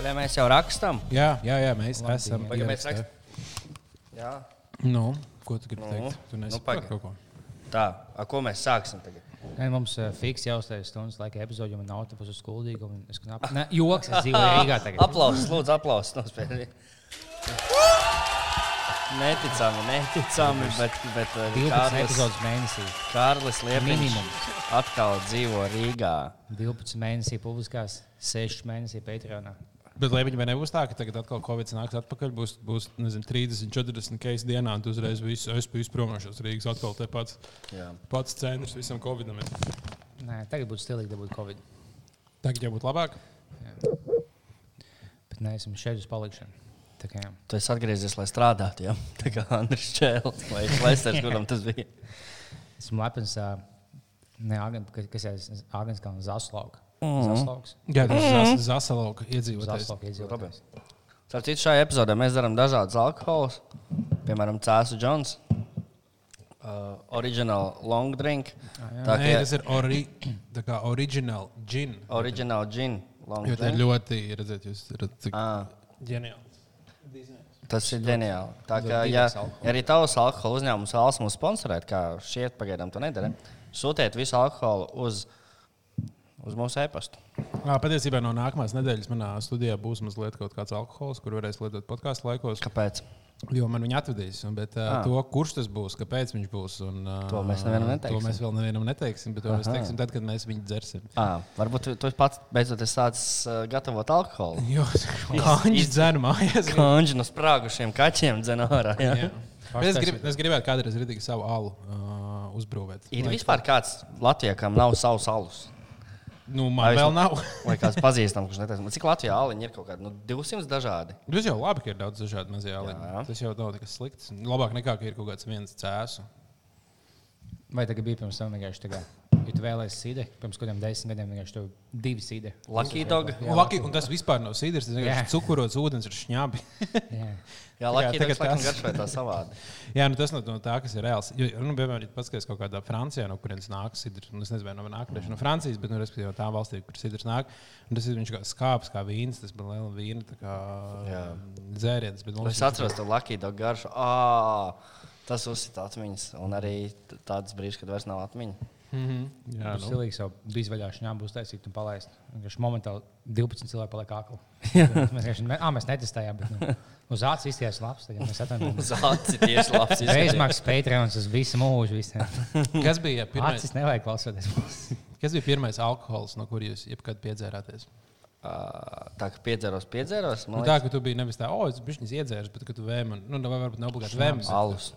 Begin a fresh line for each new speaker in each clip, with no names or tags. Vai mēs jau rakstām?
Jā, jā, jā mēs Labi, esam.
Vai mēs rakstām? Jā,
Nu, ko tu gribi
Nu,
teikt? Tu
nu,
nesi
pagaid.
kaut ko.
tā. Ar ko mēs sāksim tagad?
Nē, mums uh, fiks jau uztaisīja stundas laika epizodi, jo man nav tāpus uz skuldīgu. un Es knap... ne, joks, es dzīvoju Rīgā tagad.
Aplausos, lūdzu, aplausos. nospēlē. Neticami, neticami, bet, bet eh,
12
Kārlis,
epizodes mēnesī.
Kārlis Liepiņš
Minimums.
atkal dzīvo Rīgā.
12 mēnesī publiskās, 6 mēnesī Patreonā.
Bet, lai viņi vai nebūs tā, ka tagad atkal Covid nāks atpakaļ, būs, būs nezinu, 30, 40 keis dienā, un tu uzreiz visu, es biju izpromošos Rīgas atkal te pats,
Jā.
pats centrs visam Covidam. ir.
Nē, tagad būtu stilīgi dabūt Covid.
Tagad jau būtu labāk.
Bet nē, esam šeit uz palikšanu. Tā kā jā.
Tu esi atgriezies, lai strādātu. Ja? Tā kā Andris Čēlis vai Lesters, kuram tas bija.
esmu lepns, uh, ne, Agan, ka- kas ir Agnēs Kalns Zaslauks.
Mhm.
Zaslauks.
Jā, tas ir Zasalauka iedzīvotājs.
Zaslauks iedzīvotājs.
Starp citu, šajā epizodē mēs darām dažādas alkohola, piemēram, Cēzus Jones. Uh, original long drink. Tā
Ah, Nē, tas ir ori, tā kā original gin.
original gin. Long
Jo tā ir
drink.
ļoti, redziet, jūs esat cik
Ah,
ģeniāli.
tas ir ģeniāli. Tā kā, ja, ja arī tavs alkohola uzņēmums vēlas mūs sponsorēt, kā šeit pagaidām to nedara, sūtiet visu alkoholu uz, uz mūsu e-pastu.
Ā, Patiesībā no nākamās nedēļas manā studijā būs mazliet kaut kāds alkohols, kur varēs lietot podkāstu laikos.
Kāpēc?
Jo man viņa atvedīs, un, bet uh, to, kurš tas būs, kāpēc viņš būs. Un, uh,
Ah. To mēs nevienam neteiksim.
To mēs vēl nevienam neteiksim, bet to mēs teiksim tad, kad mēs viņu dzersim.
À, Ah, varbūt tu, tu pats beidzot esi sācis uh, gatavot alkoholu.
Jo viņš dzēra mājās.
Kanģi no sprāgušiem kaķiem dzen ārā. jā.
Jā. Bet Es, grib, es gribētu kādreiz redzēt savu alu uh, uzbrūvēt.
Ir vispār kāds Latvijā, kam nav savs alus.
Nu,
Vai
man
es-
vēl nav.
Vai kāds pazīstams, kurš netaisnība. Cik Latvijā aliņi ir kaut kādi nu, 200 dažādi?
Jūs jau labi, ka ir daudz dažādu mazie
Jā.
aliņu. Tas jau nav nekas slikts. Labāk nekā, ka ir kaut kāds viens cēsu.
Vai tagad bija pirms tam vienkārši tā, ja tu vēlējies sīdi, pirms kādiem desmit gadiem vienkārši tur bija divi sīdi.
Lucky dog.
Un, laki, un tas vispār nav sīdrs, tas
Jā.
vienkārši cukurots ūdens ar šņābi.
Jā.
Jā, Lucky
tagad
dog laikam
tas.
garšo tā savādi.
Jā, nu tas no, no tā, kas ir reāls. Jo, nu, piemēram, ja paskatās kaut kādā Francijā, no kurienes nāk sidrs, nu, es nezinu, vai no nākamā no Francijas, bet, nu, respektīvi, no tā valstī, kur sidrs nāk, un tas ir viņš kā skāps, kā vīns, tas man liela vīna, tā kā
Jā.
dzēriens. Bet, nu,
Es atceros to Lucky dog garšu. Ā, tas uzsita atmiņas. Un arī t- tāds brīdis, kad vairs nav atmiņa.
jā,
Tas
nu.
stilīgi jau bija vaļā, šņā būs taisīt un palaist. Vienkārši momentāli 12 cilvēki paliek akli. mēs vienkārši, ne, ā, mēs netestējām, bet nu, uz acis izties labs. Tagad mēs atvainojamies.
Uz acis tieši labs. izskatījums.
Reizmaks Patreons uz visu mūžu. Visiem.
Kas, bija pirmais,
Acis nevajag klausoties. mums.
kas bija pirmais alkohols, no kur jūs jebkad piedzērāties?
Ā, Tā kā piedzēros, piedzēros.
Nu,
man
tā, ka tu biji nevis tā, o, es biju iedzēris, bet ka tu vēmi, un- nu, vai varbūt ne obligāti vēmi.
liekas, Alus.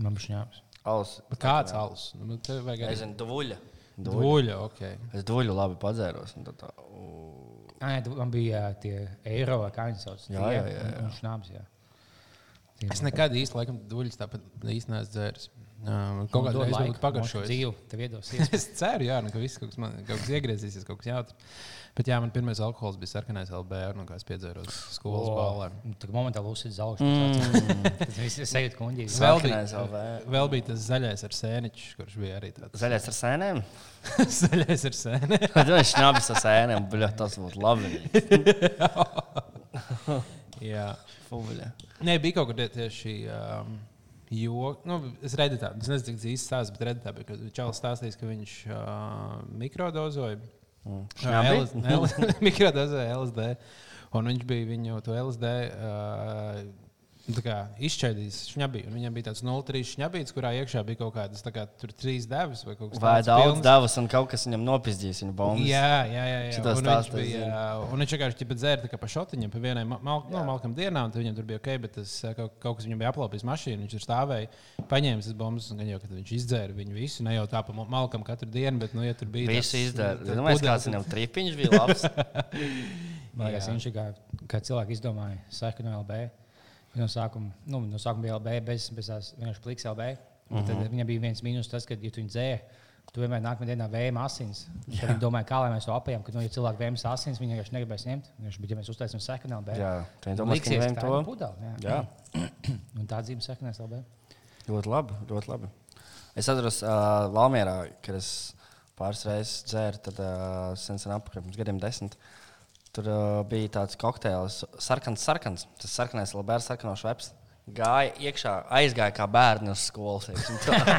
Man bija šņāps.
Alus.
bet Kāds alus? Nu, tev vajag arī
Nezinu, duļa. Duļa.
duļa, ok.
Es duļu labi padzēros. un tad tā, ū.
Nē, tu- man bija ā, tie eiro, vai kā viņi sauc.
Jā, jā, jā, jā.
Šņāps, jā.
Es nekad īsti laikam duļus tāpat īsti neesmu dzēris. Um, kaut
Nu,
kādā veidā būtu pagaršojis.
Dzīvu, tev iedos. iespēju.
Es ceru, jā, nu, ka viss kaut kas, man, kaut kas iegriezīsies, kaut kas jautrs. Bet jā, man pirmais alkohols bija sarkanais LBR, no nu, kā es piedzēros skolas
O,
ballē. Mm.
nu, Tā momentāli uzsver zelta. Tas viss ir sajūta kundīgi.
Vēl bija,
Sarkanais LBR.
vēl bija tas zaļais ar sēniņu, kurš bija arī tāds
Zaļais ar sēnēm.
- zaļais ar sēniņu.
Tad viņš nāca ar sēnēm. Bļa, tas būtu labi.
Jā,
Fubuļa.
Nē, bija kaut kur tieši. Um, Jo, nu, es redzu, tā, es nezinu, cik īsti stāsta, bet redzu, tā, bija, ka Čālijs stāstīs, ka viņš uh, mikrodozoja.
Mm. Šņabi?
Mikrodozoja LSD. Un viņš bija viņu to LSD uh, tā kā izšķēdījis šņabī. Un Viņam bija tāds 0,3 šņabīts, kurā iekšā bija kaut kādas tā kā, tur trīs devas vai kaut kas
Vai
tāds
daudz
pilns.
devas, un kaut kas viņam nopizdīs viņa bombas.
Jā, jā, jā. jā.
Šito
Un viņš
stāstu es
bija, uh, un viņš vienkārši ķipa dzēra tā kā pa šotiņam, pa vienai ma- mal, no, malkam dienām. Tad viņam tur bija ok, bet tas uh, kaut, kaut kas viņam bija aplaupījis mašīnu. Viņš tur stāvēja, paņēma tas bombas, un gan jau, kad viņš izdzēra viņu visu. Ne jau tā pa ma- malkam katru dienu, bet, nu, ja tur bija.
Visu
tāds,
izdarīja.
mm, tad
Es domāju,
pudeles-
kāds viņam tripiņš bija labs.
Man liekas, viņš ir kā, kā cilvēks izdomāja saku no LB. No sākuma, nu, no sākuma bija LB, bez, bez tās vienkārši pliks LB. Uh -huh. Tad
Mhm.
viņam bija viens mīnus, tas, ka, ja tu viņu dzēri, tu vienmēr nākamajā dienā vējam asins. Tad Viņi domāja, kā lai mēs to apējam, ka, nu, ja cilvēki vējams asins, viņi vienkārši negribēs ņemt. Viņš bija, ja mēs uztaisām saku no LB.
Jā, tad viņi domās, ka
liksies,
viņi
ka
vējam
tā ir
to.
pudele. Jā.
Jā,
Un tā dzīve saku no LB.
ļoti labi. Ļoti labi. Es atceros uh, Valmjerā, kad es pāris reizes dzēru, tad uh, sen sen apmēram pirms gadiem desmit. Tur uh, bija tāds kokteils, sarkans, sarkans. Tas sarkanais labērs, sarkano šveps. Gāja iekšā, aizgāja kā bērni uz skolas. teiksim tā.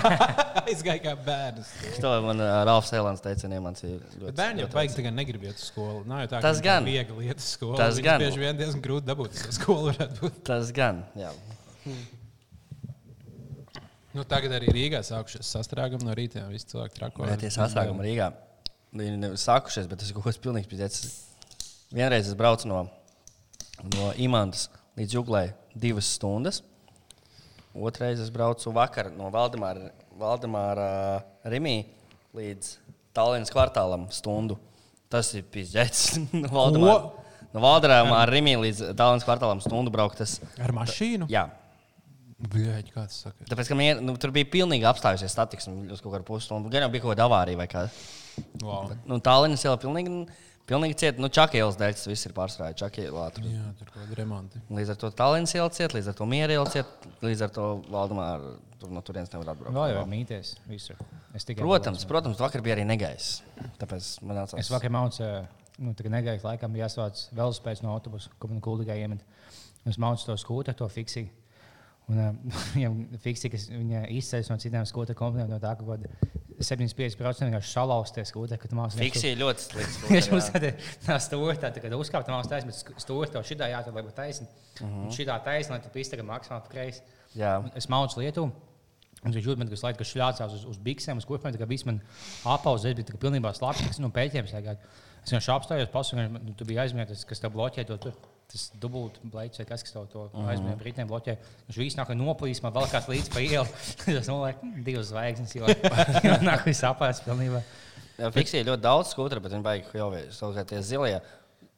Aizgāja kā bērns.
To man uh, Ralfs Eilants teica, iemācīja.
Bet bērniem jau vajag tagad negrib iet uz skolu. Nav jau tā,
Tas
viņiem
gan.
Viegli iet uz skolu.
Tas
Viņus
gan.
Bieži vien diezgan grūti dabūt to skolu. varētu būt.
Tas gan, jā.
Nu, tagad arī Rīgā sākušās sastrēgumi no rīta. Visi cilvēki trako.
Vai tie sastrēgumi Rīgā? Nu, Viņi nav sākušies, bet tas ir kaut kas pilnīgs pizdzēts. Vienreiz es braucu no, no Imantas līdz Juglai divas stundas. Otrais es braucu vakar no Valdemāra, Valdemāra Rimī līdz Tallinas kvartālam stundu. Tas ir pizdzēts. no Valdemāra, no Valdemāra Rimī līdz Tallinas kvartālam stundu braukt. Tas,
Ar mašīnu?
jā.
Bļaļ, kā tas saka?
Tāpēc, ka man, ier- nu, tur bija pilnīgi apstājusies statistikas uz kaut kādu pusstundu. Gan jau bija kaut kāda avārija vai kāda.
Wow.
Nu, Tallinas iela pilnīgi, pilnīgi cieta. Nu, Čakielas dēļ tas viss ir pārstrādājis. Čakielā tur.
Jā, tur kaut kāda remonta.
Līdz ar to Tallinas iela cieta, līdz ar to miera iela cieta, līdz ar to Valdemāra tur no turienes nevar atbraukt.
Vēl jau mīties visur. Es tikai
Protams, protams, vakar bija arī negaiss. Tāpēc man nācās.
Es vakar mācīju, nu, tā kā negaidīju, laikam bija jāsvāc velosipēds no autobusa, ko man gudrīgā iemet. Es mācīju to skūtu, to fiksiju. Un ā, viņam fiksija, kas viņa izceļas no citām skūta komponentiem, no tā, ka kaut kāda 75% vienkārši šalausties skūta, kad mācīju.
Fiksija ļoti slikta.
Viņš mums tādā tā stūrī, tā kā uzkāpa no taisnības, bet stūrī to šitā jāatrod, lai būtu taisni. Uh -huh. Šitā taisni, lai tu pīsti maksimāli pa kreisi.
Jā.
Un Es mācu Lietuvu. Un viņš jūtas, ka viņš laikam šļācās uz, uz biksēm, uz kurpēm. Tā kā viss man apauzēs, bija tā kā pilnībā slāpes, no pēķiem sēgāt. Es vienkārši apstājos, pasaku, nu, tu biji aizmirsis, kas tev bloķē to. Tur. Tas dubult blēķis, vai kas, kas tev to
Mhm.
aizmirst, brītiem bloķē. Viņš visu nāk noplīsmā, vēl kāds līdz pa ielu. Tas noliek divas zvaigznes, jo jo nāk viss apēsts pilnībā.
Jā, Fiksija ļoti daudz skūta, bet viņi baigi jau vēl kaut kā tie zilie.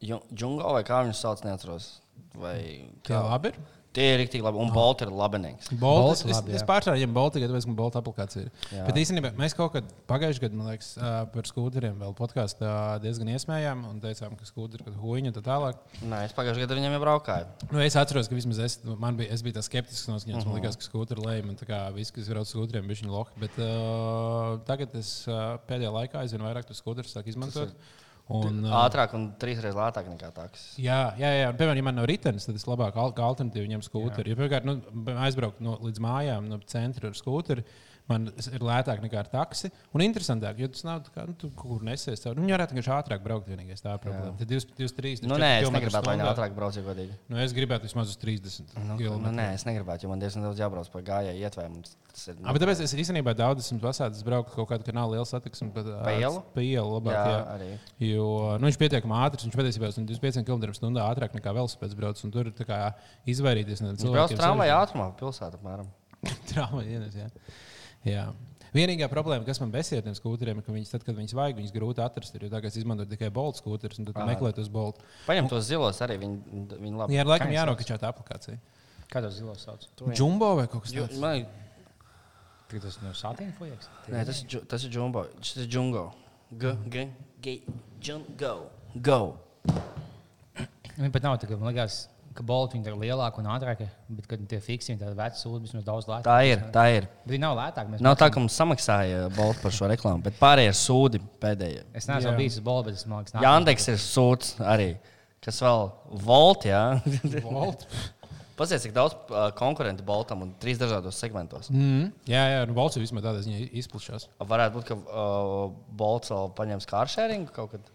Džungļu vai kā viņus sauc, neatceros. Vai
Tā
kā.
labi ir.
Tie ir rīktīgi labi. Un Bolts ir labinieks.
Bolt, es,
Bolt, labi,
es, es
jā.
pārtraucu, ka Boltā gada bija Boltā aplikācija. Ir.
Jā.
Bet īstenībā mēs kaut kad pagājušajā gadā, man liekas, ā, par skūteriem vēl podkāstā diezgan iesmējām un teicām, ka skūteri ir kaut kāda huīņa un tā tālāk.
Nē, es pagājušajā gadā viņam jau braukāju.
Nu, es atceros, ka vismaz es, man bija, es biju tas skeptisks, no kuras
Mhm.
man liekas, ka skūteri lejā man tā kā viss, kas ir uz skūteriem, bija viņa loka. Bet uh, tagad es uh, pēdējā laikā aizvien vairāk tos skūterus sāku izmantot. Un, ā,
Ātrāk un trīsreiz lētāk nekā tāks.
Jā, jā, jā. Un, piemēram, ja man nav ritenis, tad es labāk al- kā alternatīvu ņemu skūteri. Ja, piemēram, nu, aizbraukt no, līdz mājām, no centra ar skūteri, man s- ir lētāk nekā ar taksi. Un interesantāk, jo tas nav tā kā, nu, tu kaut kur nesies. Cauri. Nu, viņi varētu vienkārši ātrāk braukt, vienīgais tā ir problēma. Tad 23, 24
Nu, nē, es
kilometri
negribētu, lai viņi
stundā.
ātrāk brauc, ja godīgi.
Nu, es gribētu vismaz uz 30
Nu,
km.
nu, nē, es negribētu, jo man diezgan daudz jābrauc pa gājēju ietvērumu. Tas ir nu,
Ah, bet tāpēc es īstenībā daudz esmu pasācis, es braucu kaut kādā, kad nav liela satiksme. bet, ā,
Pa ielu?
Pa ielu labāk,
Jā,
jā,
arī.
Jo nu, viņš pietiekami ātrs, viņš patiesībā ir 25 km/h ātrāk nekā velosipēds brauc. un Tur ir tā kā izvairīties no tiem
Brauc
cilvēkiem.
tramvajā ātrumā pa pilsētu apmēram.
Trauma dienas, jā. jā. Vienīgā problēma, kas man besīja ar tiem sūkļiem, ir, ka viņas, tad, kad viņas vajag, viņas grūti atrast. Ir, jo tagad es izmantoju tikai boltu sūkļus, un tad tu meklē tos boltu.
Paņem tos zilos arī, viņi, viņi labi.
Jā, ar laikam
Kā
jānokačā tā aplikācija.
Kādos zilos sauc?
Džumbo vai kaut kas
Jo,
tāds?
man,
Tik tas no satīna fojeks.
nē, tas, ir džu- tas ir džungļo. Tas ir džungļo. G, g, g, džungļo. Go.
Viņa pat nav tā, ka man liekas, ka bolti viņi ir lielāki un ātrāki, bet kad tie fiksija, tad vecs sūdzības mums daudz lētāk.
Tā ir, tā ir.
Viņi nav lētāki. mēs
Nav tā, ka mums samaksāja balvu par šo reklāmu, bet pārējie ir sūdi pēdējie.
Es neesmu
Jā.
bijis uz Bolta, bet es domāju, ka
Jā, Andeks ir sūds arī. Kas vēl? Volt, jā.
Bolt?
Pazies, cik daudz uh, konkurentu Boltam un trīs dažādos segmentos.
Mm. Jā, jā, nu, bolts vismaz tādā ziņā izplatās.
Varētu būt, ka uh, Bolts vēl paņems kāršēringu kaut kad.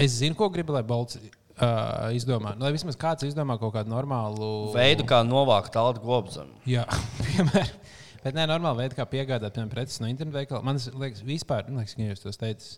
Es zinu, ko gribu, lai bolts uh, izdomā. Lai vismaz kāds izdomā kaut kādu normālu
Veidu, kā novākt tādu gobzemu.
Jā, piemēram. Bet nē, normāli veidā, kā piegādāt piemēram, preces no internetu veikala. Man tas liekas, vispār, man liekas, ka jūs to teicat.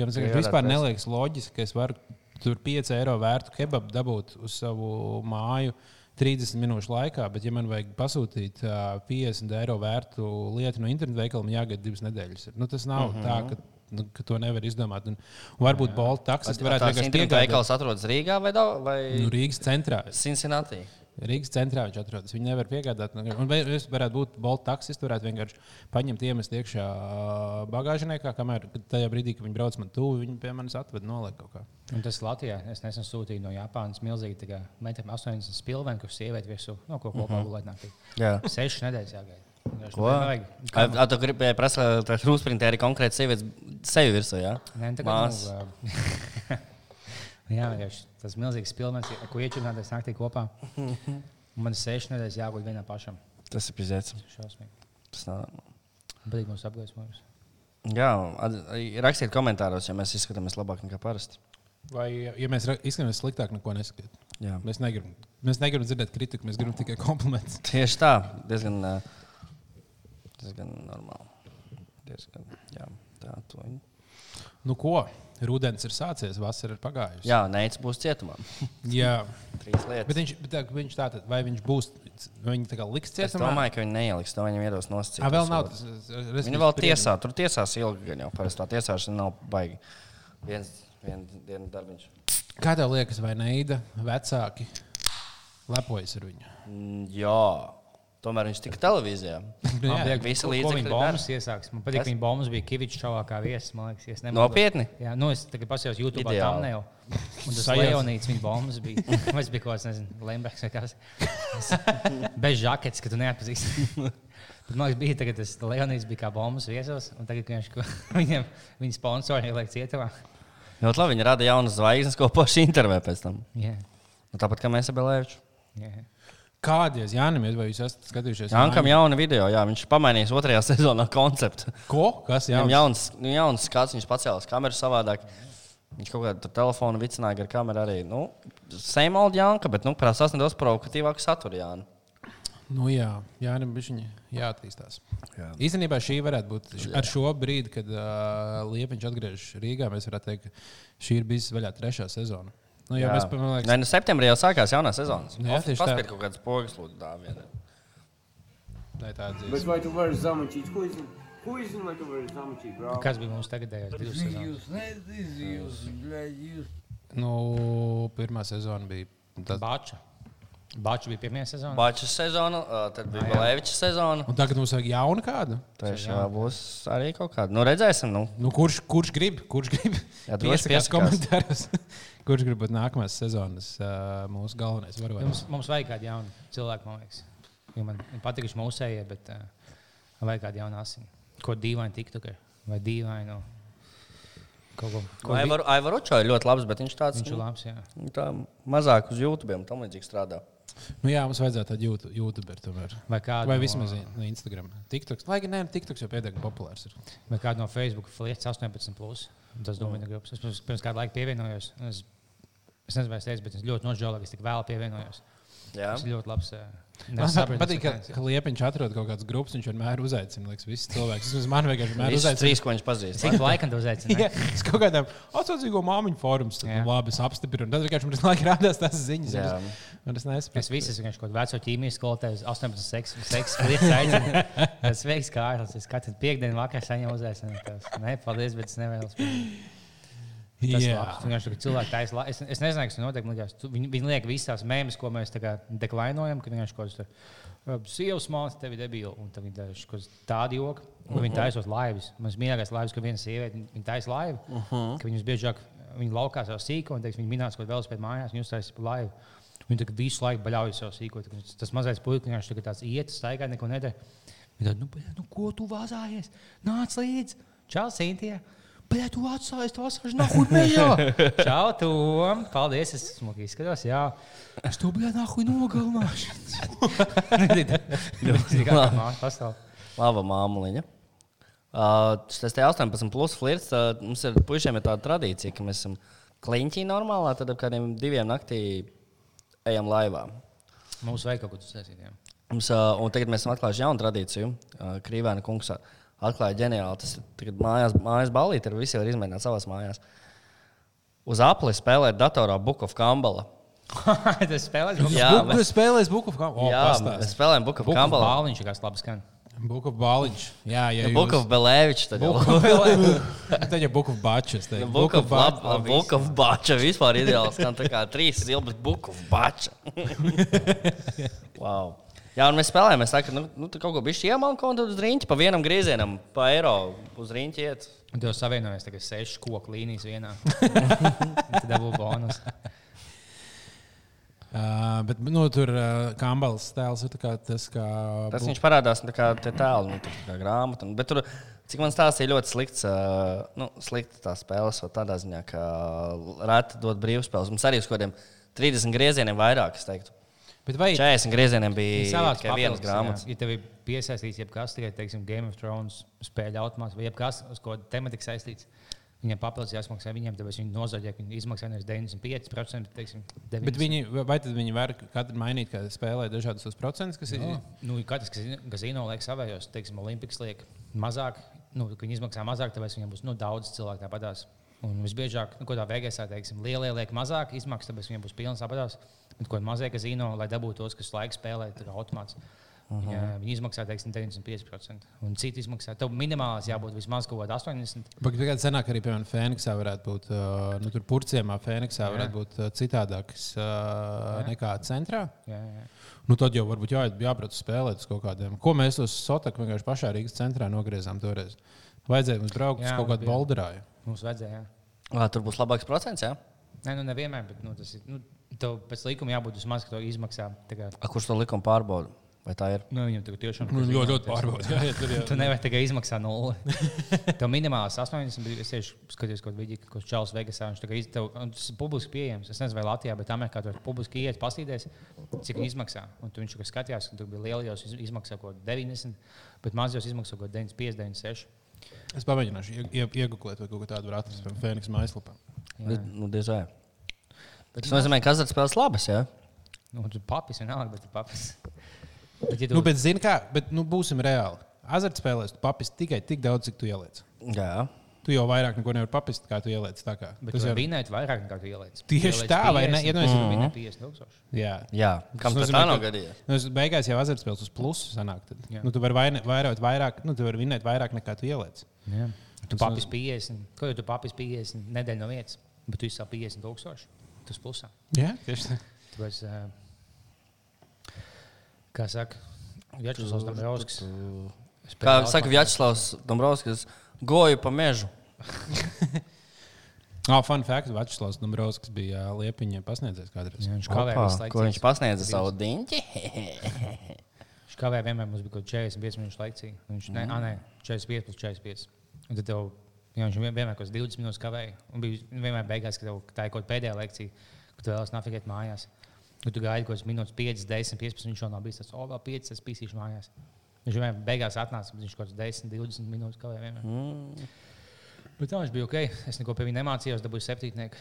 Jo man liekas,
Piegādāt
vispār
preces.
neliekas loģiski, ka es varu tur 5 eiro vērtu kebabu dabūt uz savu māju 30 minūšu laikā, bet, ja man vajag pasūtīt ā, 50 eiro vērtu lietu no internetu veikala, man jāgaida divas nedēļas. Nu, tas nav
Mhm.
mm -hmm. tā, ka, nu, ka to nevar izdomāt. Un varbūt Bolts taksis varētu
Tāds
vienkārši
internetu
piegādāt.
veikals atrodas Rīgā vai, da- vai
Nu, Rīgas centrā.
Cincinnati?
Rīgas centrā viņš atrodas. Viņu nevar piegādāt. Un vai es varētu būt Bolts taksists, varētu vienkārši paņemt, iemest iekšā ā, bagāžniekā, kamēr tajā brīdī, kad viņi brauc man tuvu, viņi pie manis atved noliek kaut kā.
Un tas Latvijā es nesen sūtīju no Japānas milzīgi, kā metram 80 spilveni, kurš sieviete virsū, no ko kopā gulēt naktī.
Jā.
Sešas nedēļas jāgaida. Vienkārši
Ko?
nevajag.
Ai, ai, Tu gribēji prasīt, ka
nu,
rūsprintē arī konkrēti sievietes seju virsū, jā?
Nē, tā kā
Mās.
nu, ā, Jā, vienkārši tas milzīgs spilvens, ar ko iečurināties naktī kopā. Un Man ir seši nedēļas jāguļ vienā pašam.
Tas ir pizēts.
Tas ir šausmīgi.
Tas nav.
Patīk mums apgaismojums.
Jā, at- rakstiet komentāros, ja mēs izskatāmies labāk nekā parasti.
Vai, ja mēs ra- izskatāmies sliktāk, neko neskatām.
Jā.
Mēs negribam, mēs negribam dzirdēt kritiku, mēs gribam tikai komplimentus.
Tieši tā, diezgan, ā, diezgan normāli. Diezgan, jā, tā to viņa.
Nu, ko? Rudenis ir sācies, vasara ir pagājusi.
Jā, Neits būs cietumā.
Jā.
Trīs
Bet
lietas.
viņš, bet tā, viņš tā tad, vai viņš būs, vai viņš tā kā liks
Es
cietumā?
domāju, ka viņi neieliks to viņam iedos nosacīt.
Ā, vēl nav. tas- es- es-
Viņa
es-
vēl
spriedzi.
tiesā, tur tiesās ilgi, gan jau parasti tā tiesāšana nav baigi. Viens, viens dienas darbiņš.
Kā tev liekas, vai Neida vecāki lepojas ar viņu?
Mm, Jā, tomēr viņš tika televīzijā.
Nu Jā,
Tiek visi līdzekļi
Viņa
dara.
bombas iesāks. Man patīk,
Kas?
ka viņa bombas bija Kavičs šovākā viesis. Man liekas, es nemanāšu.
Nopietni.
Jā, nu es tagad pasijos YouTube
Ideāli.
tam jau. Un tas
Sajauc.
Leonīts viņa bombas bija. Vai es biju kaut kāds, nezinu, Lembergs vai kāds. Bez žaketes, ka tu neatpazīsti. Bet man liekas, bija tagad tas Leonīts bija kā bombas viesos. Un tagad viņš viņam, viņa sponsori ieliek cietumā.
Ļoti labi, viņi rada jaunas zvaigznes, ko paši intervē pēc tam.
Jā,
Nu, tāpat kā mēs ar Belēviču.
jā.
Kādreiz Jānis, vai jūs esat skatījušies?
Jankam jauna video, jā, viņš pamainīs otrajā sezonā konceptu.
Ko? Kas
Viņam
jauns?
jauns, nu, jauns skats, viņš pacēlās kameru savādāk. Viņš kaut kādu tur telefonu vicināja ar kameru arī. Nu, same old Janka, bet nu, prasās nedaudz provokatīvāku saturu. Jā,
Nu, jā, Jānis bija jāattīstās. Jā. Īstenībā šī varētu būt š- ar šo brīdi, kad uh, Liepiņš atgriežas Rīgā. Mēs varētu teikt, ka šī ir bijusi vaļā trešā sezona. Nu, jā, jā. Mēs, pa- man liekas, Nu,
Nē, nu, septembrī jau sākās jaunā sezona.
Jā, tieši tā.
Paskatieties, kaut kādas pogas lūdzu dāvinu.
tā ir tāda
But
dzīve.
why to wear Zamachich? Who isn't who isn't like to wear Zamachich, bro?
Kas bija mūsu tagadējais? Divas sezonas.
Изъюз, не это изъюз, блядь, изъюз.
Nu, pirmā sezona bija tāda.
Bača. Bača bija pirmā sezona.
Bačas sezona, ā, tad bija Belēviča sezona.
Un tagad mums vajag jaunu kādu.
Trešā būs arī kaut kāda. Nu, redzēsim, nu,
Nu, kurš, kurš grib? Kurš grib?
Jā, droši
Piesakās
piesakās.
komentāros. kurš grib būt nākamās sezonas uh, mūsu galvenais varonis?
Mums, mums vajag kādu jaunu cilvēku, man liekas. Jo man patīk šis mūsējie, bet uh, vajag kādu jaunu asinu. Ko dīvaini tiktukai vai dīvainu. Kaut ko ko vi-
Aivaročo ir ļoti labs, bet viņš tāds
Viņš ir labs. Jā.
nu, tā mazāk uz YouTube, tam līdzīgi strādā.
Nu, jā, mums vajadzētu tādu jūtu- youtuberu tomēr.
Vai kādu,
Vai
no-
vismaz no Instagram. TikToks. Lai gan nē, TikToks jau pēdējā populārs. Ir.
Vai kādu no Facebook flieķa 18. Plus. Tas domāju, grupas. Es pirms, pirms kādu laiku pievienojos. un Es, es nezinu, vai es teicu, bet es ļoti nožēloju, ka es tik vēlu pievienojos.
Jā.
Tas ir ļoti labs. eh, ā,
Man
nevis sapratu,
patīk, ka,
kas ir
ka Liepiņš atrod kaut kādas grupas, viņš vienmēr uzaicina liekas, visus cilvēkus. Vismaz man vienkārši vienmēr
Viņš ir
uzaicina.
trīs, ko viņš pazīst.
Cik laikam tev uzaicināja?
Jā, es kaut kādam atsaucīgo māmiņu fórums, tad
Jā.
nu, labi, es apstiprinu. Tad vienkārši man laikam rādās tās ziņas.
Jā.
un es- Un es
Es
nesaprotu.
visas vienkārši kaut kādu veco ķīmijas skolotāju, 18, seksu- seksu lietas aicinu. Tas sveiks, Kārlis. Es katru piekdienu vakarā saņemu uzaicinājumu. Nē, paldies, bet es nevēlos. Tas ir labi. Vienkārši tur cilvēki taisa. la- Es, es nezinu, kas notiek. man liekas, tu- Viņi, viņi liek visas tās mēmas, ko mēs tā kā deklainojam, ka vienkārši kaut kas tur. Sievas māte, tev ir debila, un tad viņi taisa kaut tādu joku. Un viņi taisot laivas. Mans mīļākais laivas, ka viena sieviete, viņa- viņa taisa laivu, uh -huh. ka viņas biežāk viņa laukā savu sīko, un teiks, viņa minās, ko vēlas pēc mājās, un jūs taisat laivu. Viņi tā kā visu laiku baļaujas savu sīko. tā kā tas- Tas mazais puisis vienkārši tā kā tāds iet, staigā, neko nedara. Viņa tāda, nu, bļa, nu, ko tu vāzājies? Nāc līdzi! Čau, Sintie! Bļa, tu atstājies, tu atstājies, nahuj, mejā! Čau, Tom! Paldies, es smuki izskatos, jā. Es tev, bļa, nahuj, nogalināšu! Ļoti labi. Pastāv.
Laba māmuliņa. Uh, tas te 18 plus flirts. Uh, mums ir puišiem ir tāda tradīcija, ka mēs esam kliņķī normālā, tad ap kādiem diviem naktī ejam laivā.
Mums vajag kaut ko sasīt, jā.
Mums, uh, un tagad mēs esam atklājuši jaunu tradīciju. Uh, Krīvēna kungs atklāja ģeniāli. Tas ir tagad mājās, mājas balīti, ir visi var izmēģināt savās mājās. Uz apli spēlēt datorā Book of Kambala.
Tas spēlēs mums.
Jā,
Jā,
mēs-
mēs spēlējam Book of Kambala.
Jā, mēs spēlējam Book of Kambala.
Bāliņš ir kāds labs skan.
Book of Bāliņš. Jā, jā.
Book of Belēvičs. tad jau.
Book of Bāliņš. Tad jau Book of Bāčas.
Nu, Book of Lab- Book of Bača. Vispār ideāls. Gan tā kā trīs zilbas Book of Bača. wow. Jā, un mēs spēlējām. Es saku, nu, nu tur kaut ko bišķi iemalko un tad uz rīņķi pa vienam griezienam, pa eiro uz rīņķi iet.
Un tev savienojas tagad sešu koku līnijas vienā. Tad dabū bonus.
Uh, bet nu, tur uh, Kambals tēls ir tā kā tas, kā.
Tas
Book-
nu, viņš parādās tā kā te tēlu, nu, tur tā kā grāmatā. Bet tur Cik man stāstīja, ļoti slikts, ā, nu, slikta tā spēle. ot Tādā ziņā, ka rēta dod brīvspēles. Mums arī uz kaut kādiem 30 griezieniem vairāk, es teiktu.
Bet vai
40 griezieniem
Viņi
bija
savāc
tikai vienas
papildus,
grāmatas.
Ja tev ir piesaistīts jebkas, tikai teiksim, Game of Thrones spēļu automāts vai jebkas, uz ko tematiski saistīts, viņiem papildus jāsmaksā viņiem, tāpēc viņi nozaudē, ka viņi izmaksā nevis 95%, bet teiksim, 90%.
Bet viņi, vai tad viņi var katru mainīt, kā spēlē dažādas tos procentus, kas ir?
Nu, katrs kazino liek savējos, teiksim, Olimpiks liek mazāk, nu, ka viņi izmaksā mazāk, tāpēc viņiem būs nu, daudz cilvēku tāpatās. Un visbiežāk, nu, ko tā Vegasā, teiksim, lielie liek mazāk izmaksas, tāpēc viņiem būs pilns apatās. Bet ko ir mazie kazino, lai dabūtu tos, kas laiku spēlē, tad automāts. Uh -huh. Viņi izmaksā, teiksim, 95%. Un citi izmaksā. Tev minimālās jābūt vismaz kaut kādā 80%.
Bet kādā senāk arī, piemēram, Fēniksā varētu būt, uh, nu, tur purcēmā Fēniksā varētu būt uh, citādāks uh, nekā centrā.
Jā, jā.
Nu, tad jau varbūt jā, jābrauc spēlēt uz kaut kādiem. Ko mēs uz Sotaku vienkārši pašā Rīgas centrā nogriezām toreiz? Vajadzēja mums braukt uz
Jā,
kaut
mums
kādu
bija.
boulderāju.
Mums vajadzēja. jā.
Ā, Tur būs labāks procents. Jā?
Nē, nu, nevienmēr, bet nu, tas ir. Nu, tev pēc likuma jābūt vismaz, ka to izmaksā. tā kā-
A, Kurš to likuma pārbauda? Vai tā ir?
Nu, viņam tagad tiešām
Nu,
kazino,
ļoti, ļoti
teiksim,
pārbaudījām.
Tu nevari tikai izmaksāt nulli. Tev minimāls 80, bet es tieši skatos, ko viņš ko Čāles Vegasā. Viņš tagad iz- tev, un tas ir publiski pieejams. Es nezinu, vai Latvijā, bet Amerikā tur publiski iet, paskatīties, cik viņi izmaksā. Un tu viņš tur skatījās, ka tur bija lielajos iz- izmaksā kaut ko 90, bet mazajos izmaksā kaut ko 95, 96.
Es pamēģināšu ie- ie- iegūklēt, vai kaut ko tādu var atrast piemēram, Fēniks mājaslapā.
Nu, Nu, diez vai. Tas nozīmē, ka azartspēles labas. Jā?
Nu, un tur papis vienalga, bet tur papis. Bet, ja tu,
Nu, bet, zini, kā, bet, nu, būsim reāli. Azartspēlēs tu papis tikai tik daudz, cik tu ieliec.
jā.
Tu jau vairāk neko nevari papist, kā tu ieliec. tā kā.
bet
Tas
tu
jau-
vari vinēt vairāk nekā tu ieliec.
Tieši tā, vai ne? Ja nu es-
esmu 50 tūkstoši.
Jā.
jā. Kam tas tā nav gadījies?
Nu, es beigās jau azartspēles uz plusu sanāk. Tad,
Jā.
nu, tu vari vairāk, vairāk, vairāk, nu, tu vari vinēt vairāk nekā tu ieliec.
Jā. Tu papis 50, ko jau tu papis 50 nedēļu no vietas, bet tu izsāp 50 tūkstoši. Tas plusā.
Jā, tieši tā.
Tāpēc, eh, kā saka, Vjačeslavs Dombrovskis.
Kā saka Vjačslavs Dombrovskis, goju pa mežu.
Oh, fun fact, Vačslavs Dombrovskis bija ā, liepiņa pasniedzējs kādreiz.
Viņš kavē
Kopā,
visu laiku.
Ko viņš pasniedza savu diņķi?
Viņš kavē vienmēr mums bija kaut kāds 45 minūšu laiks. Viņš ne, mm. nē, 45 plus 45. Un tad tev, jā, viņš vien- vienmēr kaut kāds 20 minūtes kavēja. Un bija vienmēr beigās, ka tev tā ir kaut kāda pēdējā lekcija, kad tu vēlas nafigēt mājās. Un tu gaidi kaut kādas minūtes, 5, 10, 15. Viņš jau nav bijis tāds, o, vēl 5, es pīsīšu mājās. Viņš vienmēr beigās atnāca, bet viņš kaut kāds 10, 20 minūtes kavēja. Mm. Bet tā viņš bija ok. Es neko pie viņa nemācījos, dabūju septītnieku.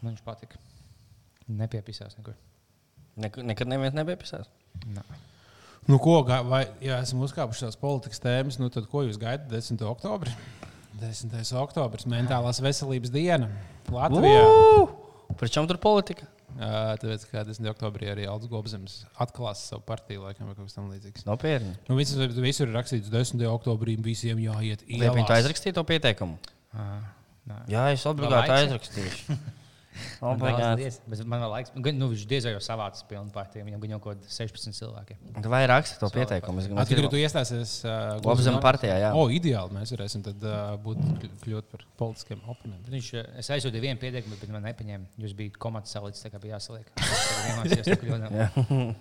Man viņš patika. Nepiepisās nekur.
Nek nekad neviens nebija pisājis.
Nā.
Nu, ko, gā- vai, ja esam uzkāpuši tās politikas tēmas, nu, tad ko jūs gaidat 10. oktobrī? 10. oktobris, mentālās veselības diena Latvijā.
Prečom tur politika?
Ā, Tāpēc, kā 10. oktobrī arī Aldis Gobsams atklās savu partiju, laikam, vai kaut kas tamlīdzīgs.
Nopietni.
Nu, visur, visur ir rakstīts, 10. oktobrī visiem jāiet
Vai viņi to
ielās.
aizrakstīja to pieteikumu?
Ā, nā.
Jā, es obligāti
Labais.
aizrakstīšu.
Man vēl
Obligāti.
liekas, bet man vēl laiks, gan, nu, viņš diez vai jau savācis pilnu partiju. Viņam bija jau kaut kādi 16 cilvēki.
Vai raksti to pieteikumu? Es
Atpakaļ, kad
gribu
tu iestāsies uh,
Gobzema partijā, jā.
O, ideāli mēs varēsim tad uh, būt kļu- kļūt par politiskiem oponentiem.
Viņš, eh, es aizsūtīju vienu pieteikumu, bet man nepaņēma. Jūs bijat komats salīdz, tā kā bija jāsaliek. Es tikai iemācījos to kļūdu.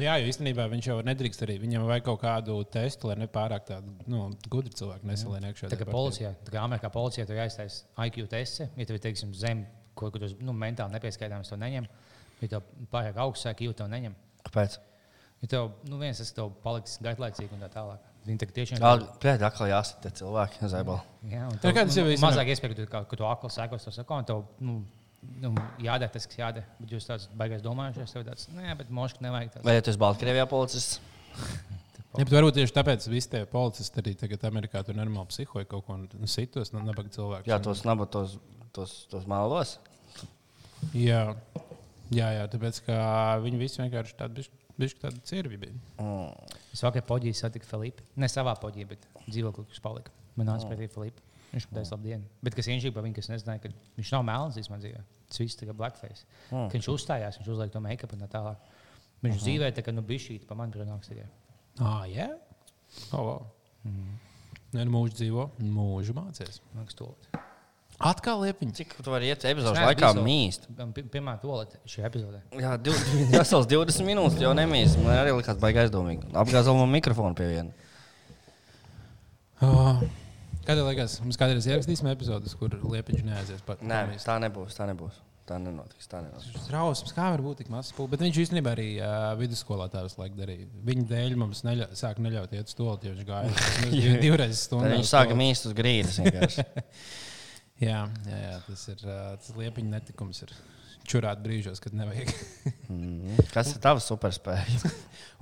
Nu, jā, jo īstenībā viņš jau nedrīkst arī. Viņam vajag kaut kādu testu, lai nepārāk tādu nu, gudru cilvēku nesalien iekšā.
Tā kā
tajā partijā.
policijā, tā kā Amerikā policijā, tur jāiztais IQ tests. Ja tev ir, teiksim, zem, ko, ko tu nu, mentāli nepieskaidāms, to neņem. Ja tev pārāk augsts IQ, to neņem.
Kāpēc?
Ja tev, nu, viens tas tev paliks gaidlaicīgi un tā tālāk. Viņi tagad tiešām
Pēc atkal jāsaka tie cilvēki, Zaibal.
Jā, un
Tā
tev,
kā tas jau
nu,
ir-
mazāk iespēja, ka tu, kā- ka tu akli sekos tam sakām, tev nu, nu, jādara tas, kas jādara. Bet jūs tāds baigās domājušies, tev tāds, nē, bet moški nevajag tāds.
Vai ja tu esi Baltkrievijā policists?
Jā, bet varbūt tieši tāpēc visi tie policisti arī tagad Amerikā tur normāli psihoja kaut ko un sitos, nu, nabaga cilvēku.
Jā, tos nabat, tos, tos, tos malos.
jā. jā, jā, tāpēc ka viņi visi vienkārši tādi bišķi tādi cirvi bija.
Es vakar poģīju satiku Filipu. Ne savā poģī, bet dzīvoklī, kurš palika. Man nāca pretī Filipa. Oh. Viņš man teica, labdien. Bet kas īņķīgi par viņu, kas nezināja, ka viņš nav melns īstenībā dzīvē. Tas viss tagad blackface. Mm. Viņš uzstājās, viņš uzlika to make-up un tā tālāk. Viņš mm. dzīvē tā kā nu bija šī, pa man pienāks tikai.
Ah, jā? O, o. Nē, nu, mūžs dzīvo, mūžu mācies.
Man liekas, to.
Atkal liepiņas.
Cik tu vari iet epizodes
neesmu
laikā
bijis vēl-
mīst?
Man pi- Pirmā tolete šajā epizodē.
Jā, div- vesels 20 minūtes jau nemīst. Man arī likās baigi aizdomīgi. Apgāzām man mikrofonu pie viena.
Oh. Kādā liekas, mums kādreiz ierakstīsim epizodus, kur liepiņš neaizies pat.
Nē, tā nebūs. Tā nebūs. Tā nenotiks. Tā nenotiks.
Tas ir trausls, kā var būt tik mazs pūlis. Bet viņš īstenībā arī uh, vidusskolā tādas laikas darīja. Viņa dēļ mums neļa, sāk neļaut iet uz to lietu, jo viņš gāja vismaz div- divreiz
Tad
stundā.
Viņi
uz
sāka
tualeti.
mīst uz grīdas. vienkārši.
Jā, jā, jā, tas ir uh, tas liepiņa netikums. Ir. Čurāt brīžos, kad nevajag.
Mhm. Kas ir tavs superspējas?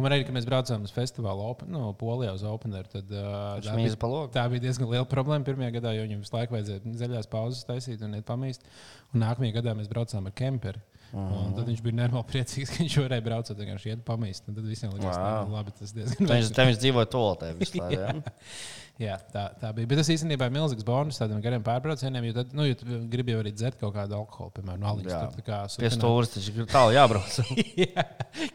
Un arī, kad mēs braucām uz festivālu, open, nu, Polijā uz Open Air, tad uh,
Viņš
tā bija-
mīl pa logu.
Tā bija diezgan liela problēma pirmajā gadā, jo viņam visu laiku vajadzēja zaļās pauzes taisīt un iet pamīst. Un nākamajā gadā mēs braucām ar kemperi. Un tad viņš bija normāli priecīgs, ka viņš varēja braukt ar viņu, iet pamīst. Un Tad visiem likās, ka
Wow.
wow. labi, tas diezgan
Viņš,
veiksmīgi.
te viņš dzīvoja tolotē visu laiku. ja?
Jā, tā, tā bija. Bet tas īstenībā ir milzīgs bonus tādiem gariem pārbraucieniem, jo tad, nu, ja tu gribi jau arī dzert kaut kādu alkoholu, piemēram, no
Jā.
aliņas. tur tā kā
Pie
sutināt.
stūres taču ir tālu jābrauc.
Jā,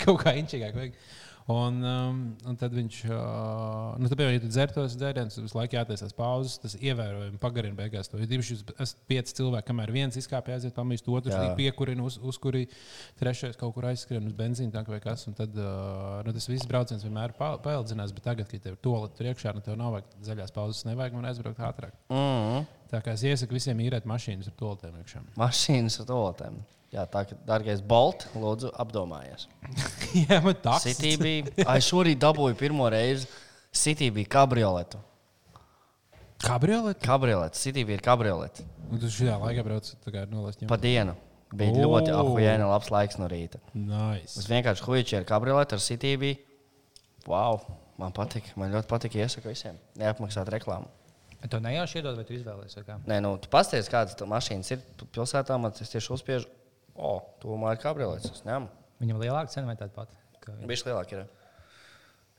kaut kā inčīgāk. Vajag. Un, um, un tad viņš, uh, nu, tā piemēram, ja tu dzer tos dzērienus, tad visu laiku jātaisās pauzes. Tas ievērojami pagarina beigās to. Ir divi, jūs esat pieci cilvēki, kamēr viens izkāpj, aiziet pamīst, otrs
Jā.
piekurina, uz, uzkurī, trešais kaut kur aizskrien uz benzīna tanku vai kas. Un tad uh, nu, tas viss brauciens vienmēr pa- paildzinās, bet tagad, kad tev ir to lietu iekšā, nu, tev nav vajag zaļās pauzes, nevajag man aizbraukt ātrāk.
Mhm.
Tā kā es iesaku visiem īrēt mašīnas ar to lietām iekšā.
Mašīnas ar tolotēm. Jā, tā kā, dārgais Bolt, lūdzu, apdomājies.
Jā, man tā
Citī bija. Ai, šorīt dabūju pirmo reizi. Citī bija kabrioletu.
Kabriolet?
Kabriolets, Citī bija kabriolets.
Un tu šajā laikā brauc, tā kā nolaist ņemt.
Pa dienu. Bija
Ooh.
ļoti apjēna, labs laiks no rīta.
Nice.
Es vienkārši huīčēju ar kabrioletu, ar Citī bija. Wow! Man patīk, man ļoti patīk. Iesaku visiem neapmaksāt reklāmu.
Tu nejauši iedod, vai tu izvēlējies? vai kā?
Nē, nu, tu pasties, kādas tur mašīnas ir p- pilsētā. Man tas tieši uzspiež, o, tūmā ir kabriolets. Es ņemu.
Viņam lielāka cena vai tāda pati? Ka-
Bišķi lielāk ir.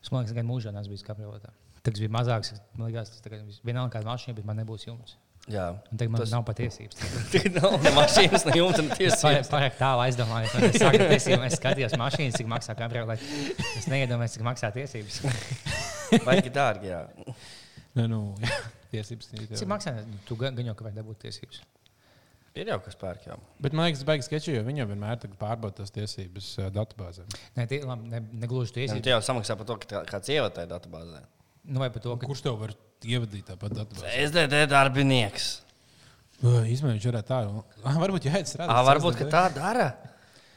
Es domāju, ka gan mūžā neesmu bijis kabriolētā. Tad bija mazāks, man liekas, tas tagad viss- vienalga kāda mašīna, bet man nebūs jums.
Jā.
Un tagad man tas... nav patiesības.
Tik nav ne mašīnas, ne jumta, ne
Es pārāk,
tiesības.
pārāk tālu aizdomājos. man tas saka tiesībām. Es skatījos mašīnas, cik maksā kabriolēta. Es neiedomājos, cik maksā tiesības.
Vai ir dārgi, jā.
Nē, nu, jā, tiesības cīnītājs.
Cik maksā? Nu, Tu gan, gan jau ka vajag dabūt tiesības.
Ir jau kas pērk, jā.
Bet man liekas, baigs sketčī, jo viņi jau vienmēr tagad pārbauda tās tiesības eh, ā, datubāzēm.
Nē, tie, labi, ne, ne gluži
Nu,
tiesības.
Tu jau samaksā par to, ka tā- kāds ievatāja datubāzē.
Nu, vai par to, ka
Kurš tev var ievadīt tāpat datubāzē?
SDD darbinieks.
Izmēģinot, viņš varētu tā. un- Ā, Varbūt jāiet strādāt.
Ā, Ah, varbūt, ka tā dara.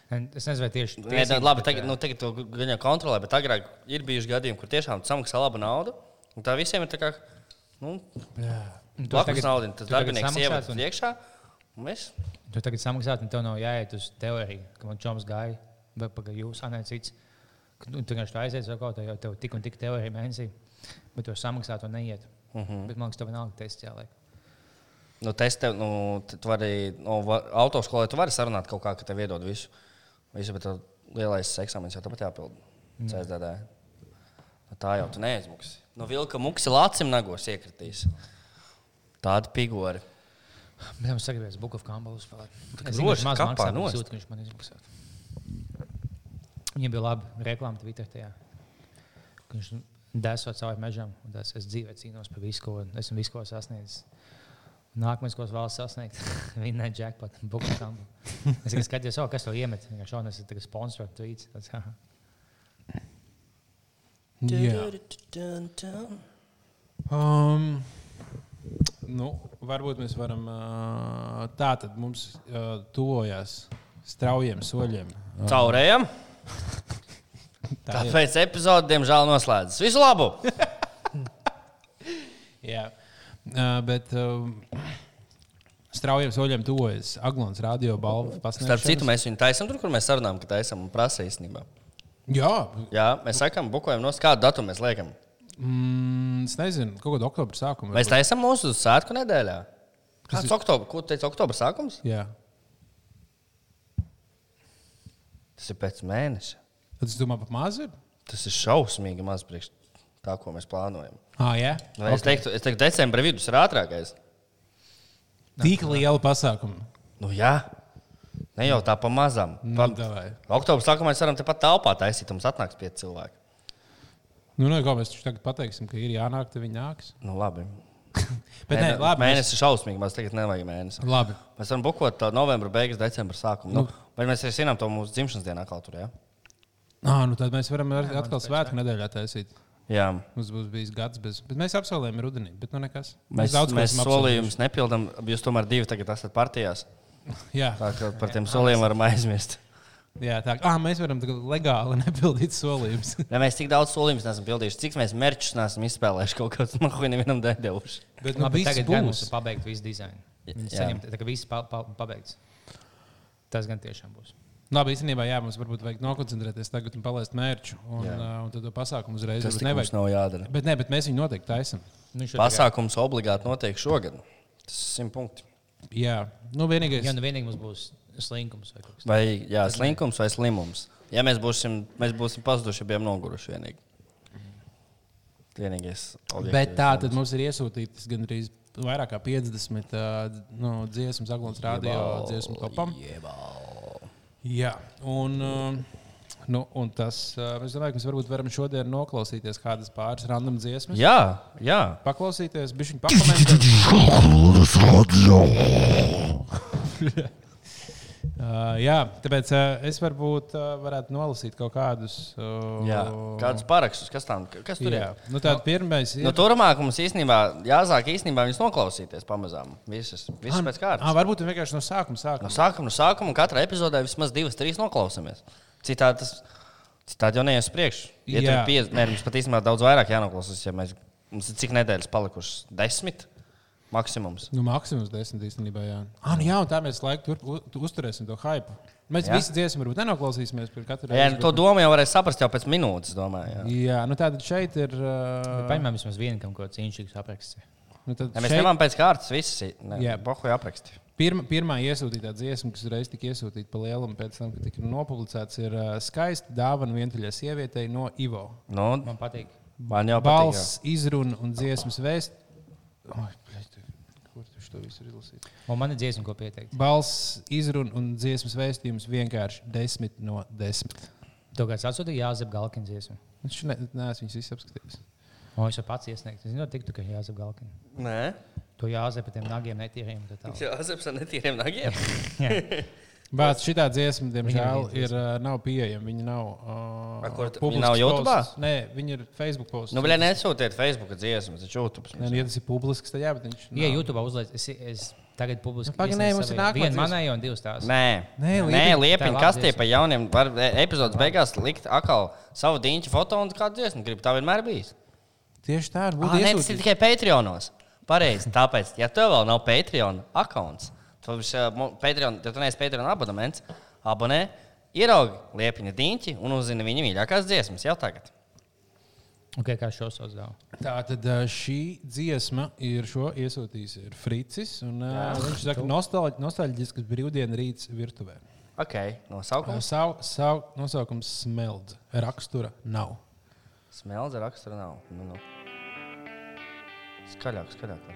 es nezinu, vai tieši
Nē, tā,
tiesības,
labi,
bet, eh,
tagad, nu, tagad to gan jau kontrolē, bet agrāk ir bijuši gadījumi, kur tiešām samaksā labu naudu. Un tā visiem ir tā kā, nu,
Jā.
un tu
blakus
tagad-
naudu. Tas
tu tagad
darbinieks
samaksāt
ievada
un-
iekšā. Un mēs
Tu tagad samaksāsi, un tev nav jāiet uz teoriju, ka man čoms gāja, vai pagaidi, jūs anēcīts. nu, Tu vienkārši tā aizies, vai kaut kā, jo tev tik un tik teorija mēnesī, bet tu samaksā to neiet. Uh -huh. Bet man liekas, tev vienalga tests jāliek.
Nu, testē, nu, t- tu vari, nu, va- autoskolē tu vari sarunāt kaut kā, ka tev iedod visu. Visu, bet tev lielais eksāmenis jau tāpat jāpild. CSDD. Nu, tā jau tu neizmuksi. Nu, vilka muksi lācim nagos iekritīs. Tāda pigori.
Bet man sagribēs Book of Campbell uzspēlēt. Es
grozi
vienkārši maz
kapā
maksāju, bet
nost.
es jūtu, ka viņš man izmaksā. Viņam bija labi reklāma Twitter tajā. ka Viņš desot cauri mežam, un tas es dzīvē cīnos par visu, ko esmu visu, ko sasniedzis. Un Nākamais, ko es vēlos sasniegt, ir viņa jackpot, Book of Campbell. Es tikai skatījos, oh, kas to iemet. Viņš jau nesat sponsorēts tweets. Tāds, haha.
Jā. Um, nu, varbūt mēs varam. ā, Tā tad mums ā, tuvojās straujiem soļiem.
Caurējam.
Tā ir.
Tāpēc epizode, diemžēl, noslēdzas. Visu labu!
Jā, uh, bet um, straujiem soļiem tuvojas Aglons radio balvu.
Starp citu,
pasniegšanas.
mēs viņu taisām tur, kur mēs sarunājam, ka taisām un prasa īstenībā.
Jā,
Jā, mēs sakām, bukojam no kādu datumu mēs liekam.
Mm, es nezinu, kaut kāda oktobra sākuma.
Mēs taisām mūsu svētku nedēļā.
Kas
Kas
ir-
ir oktobra? Ko teica oktobra sākums?
Jā,
Tas ir pēc mēneša.
tad es domāju, pat mazi. ir?
Tas ir šausmīgi maz priekš tā, ko mēs plānojam.
Ah, jā,
Nu, okay. Es teiktu, es teiktu, decembra vidus ir ātrākais.
tik liela pasākuma.
Nu, jā, ne jau tā pa mazam.
Nu,
Pa...
davai.
Oktobra sākumā mēs varam tepat telpā taisīt, mums atnāks pieci cilvēki.
Nu, nē, kā mēs taču tagad pateiksim, ka ir jānāk, tad viņi nāks.
Nu, labi.
Bet nē,
Mēne-
labi.
Mēnesis ir šausmīgi, mums tagad nevajag mēnesi.
Mēs... Labi.
Mēs varam bukot uh, novembra beigas, decembra sākumu. Nu. Nu, vai mēs arī zinām to mūsu dzimšanas dienā, kā tur? Ja?
Ah, nu, tad mēs varam ar- atkal svētku nedēļā taisīt.
Jā.
Mums būs bijis gads bez. Bet mēs apsolījām rudenī, bet nu nekas.
Mēs,
daudz ko
mēs
esam
solījumus nepildām. Jūs tomēr divi tagad esat partijās.
apsolījuši. Jā,
Tā kā par tiem solījumiem varam aizmirst.
jā, tā kā mēs varam tagad legāli nepildīt solījumus.
Ja mēs tik daudz solījumus neesam pildījuši, cik mēs mērķus neesam izspēlējuši kaut kādā no kuriem vienam devuši.
bet
Nu,
nu,
bet
viss
tagad gan mums
būs.
ir pabeigts viss dizains. Viņi
Jā.
saņem, tā kā viss pa, pa, pabeigts. Tas gan tiešām būs.
Labi, īstenībā jā, mums varbūt vajag nokoncentrēties tagad un palaist mērķu. Un,
Jā.
uh, un tad to pasākumu uzreiz
Tas
varbūt
tik mums
nevajag.
nav jādara.
Bet, nē, bet mēs viņu noteikti taisam.
Nu, viņš jau tā kā-
Pasākums obligāti notiek šogad. Tas ir simt punkti.
Jā, nu vienīgais.
Ja nu vienīgi mums būs slinkums vai kaut kas
Vai jā, slinkums vai slimums? Ja mēs būsim, mēs būsim pazuduši, abiem noguruši vienīgi. Vienīgais.
Mhm. Bet
objektīvais
tā
iemesls.
tad mums ir iesūtītas gandrīz vairāk kā 50 uh, nu, dziesmu, aglons radio dziesmu topam. Jā, un, uh, nu, un tas, uh, es domāju, ka mēs varbūt varam šodien noklausīties kādas pāris random dziesmas.
Jā, jā.
Paklausīties, bija viņa pakomentēta. Uh, jā, tāpēc uh, es varbūt uh, varētu nolasīt kaut kādus. Uh,
jā. Kādus parakstus, kas tam kas tur
Jā,
ir?
nu, tāda pirmā ir.
Nu, turmāk mums īstenībā jāsāk īstenībā viņus noklausīties pamazām. Visas, visas pēc
Ah,
kārtas.
varbūt viņi vienkārši no sākuma
No
sākām.
sākuma, no sākuma, un katrā epizodē vismaz divas, trīs noklausāmies. Citādi, tas, citādi jau neies priekšā. Ja tur
Jā.
ir pieci, nē, mums pat īstenībā daudz vairāk jānoklausās. Ja mēs, mums ir cik nedēļas palikušas? Desmit maksimums.
Nu, maksimums desmit īstenībā. Jā, ah, nu, jā un tā mēs laiku tur u- tu uzturēsim to hype. Mēs
Jā.
jā. visi dziesmu varbūt nenoklausīsimies par katru
Jā,
reizi,
nu, to
bet-
domu jau varēs saprast jau pēc minūtes. Domāju, jā.
Jā, nu tātad šeit ir. Uh,
tāds. Paņemam vismaz vienu kaut ko cīņšīgu aprakstu.
nu, tad
Ja mēs
šeit
nevaram pēc kārtas visas
Jā.
bohuļu aprakstīt.
pirma, pirmā iesūtītā dziesma, kas reiz tika iesūtīta pa lielam, pēc tam, kad tika nopublicēts, ir uh, skaista dāvana vientuļai sievietei no Ivo.
Nu,
Man patīk.
man jau patīk. jā.
Balss, izruna un dziesmas vēsts. Ai, bļaļ, tu- Kur tu šo visu ir izlasījis?
Un man ir dziesma, ko pieteikt.
Balss, izruna un dziesmas vēstījums vienkārši desmit no desmit.
To kāds atsūtīja Jāzep Galkina dziesmu.
Viņš ne, neesmu viņas visas apskatījis.
Un viņš jau pats iesniegts. Es zinu, tik tu, ka Jāzep Galkina.
Nē,
To Jāzep ar tiem nagiem netīriem. un tā tālāk.
jau aizsēs ar netīriem nagiem.
Bet šī dziesma, diemžēl,
Viņam ir
ir, uh, nav pieejama. Viņa nav.
Ar
Uh,
kur tu-
publisks
viņa nav YouTube'ā?
posts. Nē, viņa ir Facebook postā.
Nu, blē, nesūtiet Facebook dziesmas, taču YouTube.
Nē, nu, ja tas ir publisks, tad jā, bet viņš.
Ja
nav.
YouTube uzlaiž, es, es tagad publiski.
Nu, pagaidi, nē, mums ir nākamais
Viena manēja un divas tās.
Nē,
Nē,
nē
Liepiņ-
liepiņ,
tā
kas tie
labdziesma.
pa jauniem, var e, epizodes beigās likt atkal savu diņķu foto un kādu dziesmu grib. Tā vienmēr bijis.
Tieši tā, ir
Ah,
būtu
nē, tas ir
iesūtīts.
tikai Patreonos. Pareizi, tāpēc, ja tev vēl nav Patreon akts, tad e, Patreon, ja tu neesi Patreon abonements, abonē, ieraugi liepiņa diņķi un uzzini viņa mīļākās dziesmas jau tagad.
Okay, kā šo sauc? Dāv?
Tā tad uh, šī dziesma ir šo iesūtījis ir Fricis. Un, uh, viņš saka, nostalģi, nostalģisks brīvdienu rīts virtuvē.
Ok,
Uh,
nosaukums.
sav, sav, nosaukums smeld. Rakstura nav.
Smelts ar raksturu nav. Nu, nu. Skaļāk, skaļāk. var.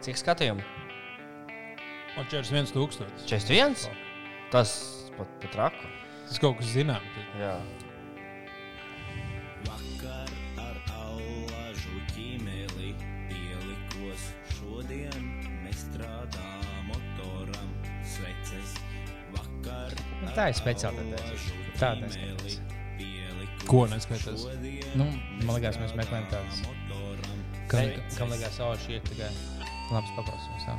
Cik skatījumu?
Un 41 tūkstoši.
41? Tas pat pat raku.
Tas kaut kas zināms.
Jā.
Vakar ar aulažu ķīmeli pielikos, šodien mēs strādājam motoram sveces. Vakar
Nu, tā ir speciāli tāda dziesma. Tā tā
ķīmeli
skaitās.
pielikos.
Ko neskaitās?
Nu, man liekas, mēs meklējam tādas. Kam, kam liekas, oh, šī ir tikai labs paklausījums. jā.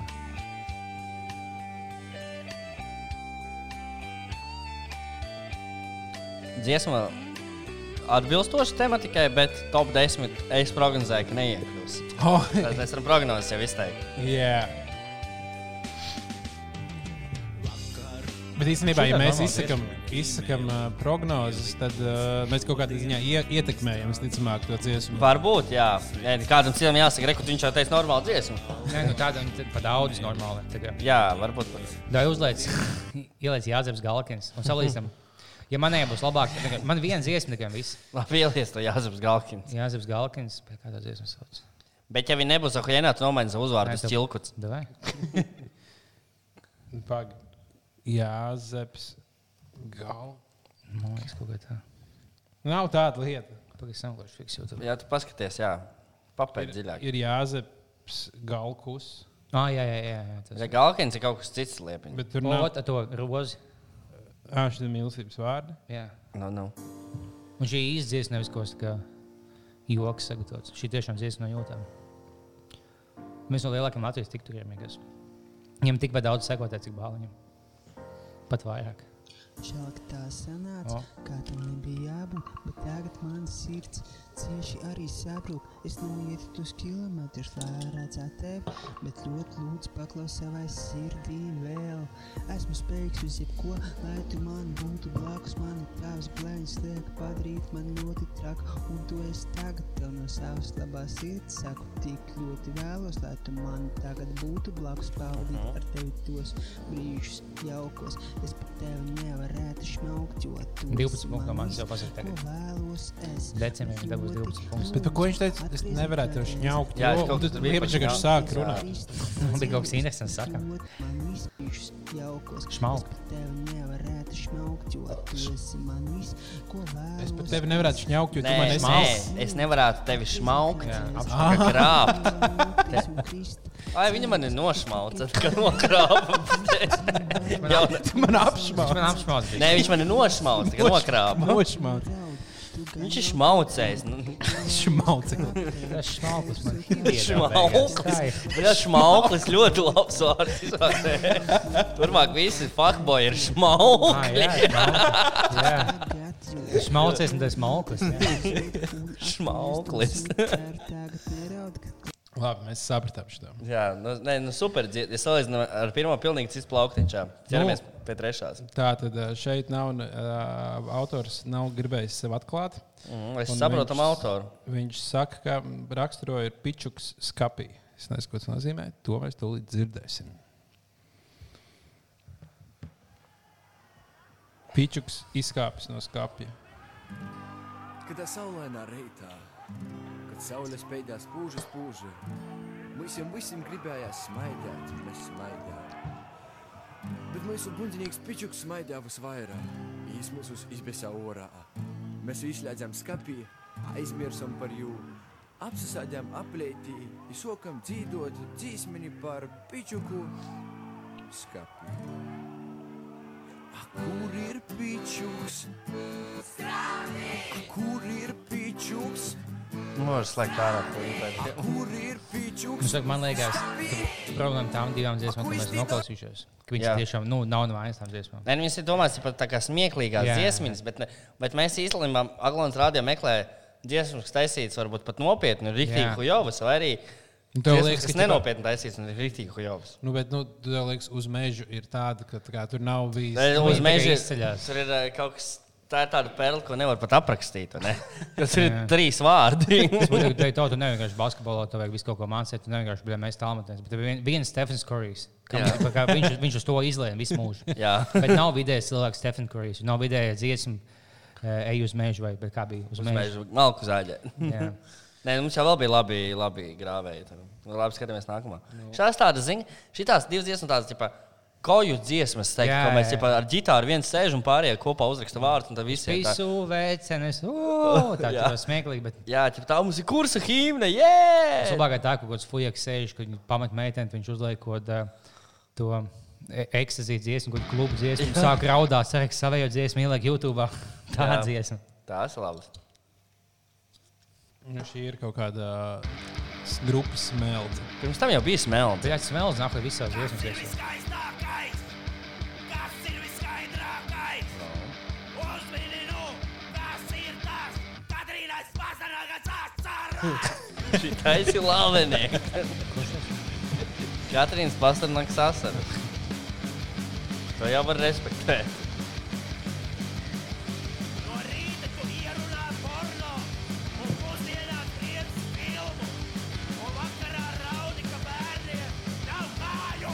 Dziesma atbilstoši tematikai, bet top 10 es prognozēju, ka neiekļūs.
Oh,
Tad mēs varam prognozēt, jau izteikt.
Jā. Bet īstenībā, ja mēs izsakām izsakam, uh, prognozes, tad uh, mēs kaut kādā ziņā ie, ietekmējam, visticamāk, to dziesmu.
Varbūt, jā. Nē, Kādam cilvēkam jāsaka, rekot, viņš jau teica normālu dziesmu.
Nē, nu tādam ir pa daudz normāli. tagad.
Jā, varbūt. pat.
Dai uzlaic, ielaic Jāzeps Galkins un salīdzinām. Ja manējā būs labāk, tad tagad- man viens iesmē, tikai viss.
Labi, ielies to Jāzeps Galkins.
Jāzeps Galkins, pie kādas iesmas sauc.
Bet ja viņi nebūs ahuļēnā, tad nomaini savu uzvārdu uz ķilkuts.
Davai.
Pag. Jā, Zeps. Gal.
Man liekas, kaut kā tā.
Nav tāda lieta.
Pagaidām, ko viņš fiksē.
Jā, tu paskaties, jā. Papēc dziļāk.
Ir Jāzeps Galkus.
Ah, jā, jā, jā. jā tas.
Ja Galkins ir kaut kas cits liepiņš.
Bet tur nav
Ot, ar to rozi.
āšķi mīlestības vārdi.
Jā.
Nu, nu.
Un šī īsta dziesma nevis kaut kā joks sagatavots. Šī tiešām ir no jūtām. Mēs no lielākiem Latvijas tikturiem vienkārši. Viņam tikpat daudz sekotāju, cik bāliņam. Pat vairāk.
Šāk tā
O.
sanāca, oh. kā tam nebija jābūt, bet tagad mana sirds cieši arī sabrūk. Es noietu tos kilometrus, lai redzētu tevi, bet ļoti lūdzu paklaus savai sirdī vēl. Esmu spējīgs uz jebko, lai tu man būtu blakus, man ir tavs blēņas liek padarīt man ļoti traku, un to es tagad tev no savas labās sirds saku, tik ļoti vēlos, lai tu man tagad būtu blakus, pavadīt ar tevi tos brīžus jaukos. Es par tevi nevarētu šmaukt, jo tu
12 punktu no manis jau pasaka tagad.
Vēlos es.
Decembrī viņš dabūs 12 punktus.
Bet par ko viņš teica? Es nevarētu to šņaukt.
Jā,
Jā,
es
jo,
kaut
un
kur
tad
biju
vienkārši
pašā-
viņš sāk runāt.
Man bija kaut kas interesants sakām. Šmaukt.
Šmaukt.
Es pat tevi nevarētu šņaukt, jo tu man esi
nē, es nevarētu tevi šmaukt, apšaukt, krāpt. Ai, viņa man ir nošmauca, kad nokrāpa. Jā,
man Nu.
Viņš
apšmaukt.
man apšaubīja.
nē, viņš man ir nošmauca, kad nokrāpa.
Nošmaukt.
Viņš ir šmaucējs. nu.
Šmaukt.
Tas šmalkus man
Šmauklis. Jā, šmauklis ļoti labs vārds. izvēlē. Turmāk visi fuckboy ir
Ah,
šmauklis.
Šmalcies un tas malkus.
Šmauklis.
Labi, mēs sapratām šo.
Jā, nu, nē, nu super. dzied- Es salīdzinu ar pirmo pilnīgi citu plauktiņu. Ķeramies
Nu.
pie trešās.
Tā tad ā, šeit nav ne- ā, autors nav gribējis sev atklāt.
Mm, es
Mhm, Un
saprotu
viņš-
autoru.
Viņš saka, ka raksturoja ir pičuks skapī. Es nezinu, ko tas nozīmē. To mēs tūlīt dzirdēsim. Pičuks izkāpis no skapja.
Kad tā saulainā reitā, kad saule spēļā spūža, spūža, mums jau visiem gribējās smaidīt, un mēs smaidījām. Bet mūsu buļbuļsaktas pičuks smaidīja visvairāk, īs mūsu izbēsā orā. Mēs izslēdzām skati, aizmirsām par jūru, apsisādām aplētī, izsokam dzīvot dzīsmeni par pičuku skati. Kur ir pičuks? Kur ir pičuks?
Možas Nu, slēgt ārā. klīpēt.
Kur ir pičuks?
Nu, Saka, man liekas, ka problēma tām divām dziesmām, ko mēs noklausīšos, ka viņš
Jā.
tiešām nu, nav no vainas tām dziesmām.
Nē, nu, viņas ir domāts par tādu smieklīgu
Jā.
dziesmu, bet, ne- bet mēs īstenībā Aglons rādījā meklējam dziesmu, kas taisīts varbūt pat nopietni, rīktīgi
Jā.
hujovas, vai arī
Un tev liekas,
dziesmas,
ka
kas
tipā-
nenopietni taisīts un ir rīktīgi hujovas.
Nu, bet, nu, tev liekas, uz meža ir tāda, ka tā kā, tur nav bijis.
Nē, Uz
viņi
meža
tikai
izceļās.
izceļās.
Tur ir eh, kaut kas. Tā ir tāda perla, ko nevar pat aprakstīt. vai ne? Jo Tur ir trīs vārdi.
Tur jau tā, tu nevienkārši basketbolā, tev vajag visu kaut ko mācīt, tu nevienkārši biji mēs tālmetnēs. Bet tev ir vien- viens Stefens Korijs,
Jā.
viņš, viņš uz to izlēma visu mūžu.
Jā.
Bet nav vidējais cilvēks Stefens Korijs, nav vidējais dziesma, eh, ej uz mežu vai bet kā bija uz
Uz
mežu.
meža malku zaļa.
Jā.
Nē, nu, mums jau vēl bija labi, labi grāvēji. tad. Nu, Labi, skatāmies nākamā.
Nu.
Šās tādas, zini, šīs divas dziesmas, tādas, tipā, koju dziesmas, teikt,
Jā,
ko mēs
jā, jā.
tipā, ar ģitāru viens sēž un pārējie kopā uzraksta vārdus. un tad visi ir tā-
Visu veicenes, o, tā
Jā.
ir smieklīgi, bet
Jā, ķip, tā mums ir kursa hīmne, jē!
Labākā tā, ka kaut kāds fujaks sēž, kad viņa pamet meiteni, viņš uzliek kaut uh, to e- ekstaziju dziesmu, kaut kādu klubu dziesmu, un sāk raudāt, sāk savējo dziesmu, ieliek YouTube. Tā
Jā.
ir dziesma.
Tās ir labas.
Nu, šī ir kaut kāda s- grupas smelta.
Pirms tam jau bija smelti.
Bet es smēlu zināmu, ka visās dziesmās ir.
Skaistākais, tas ir viskaidrākais. Uzmini, nu, tas ir tas, Katrīnas pazarākas atsārā.
Tā ir slavena. Katrīnas pastāvnāks asara. To jau var respektēt.
No rīta tu ierunā porno, un pusdienās priec filmu, un vakarā raudi, ka bērniem nav māju.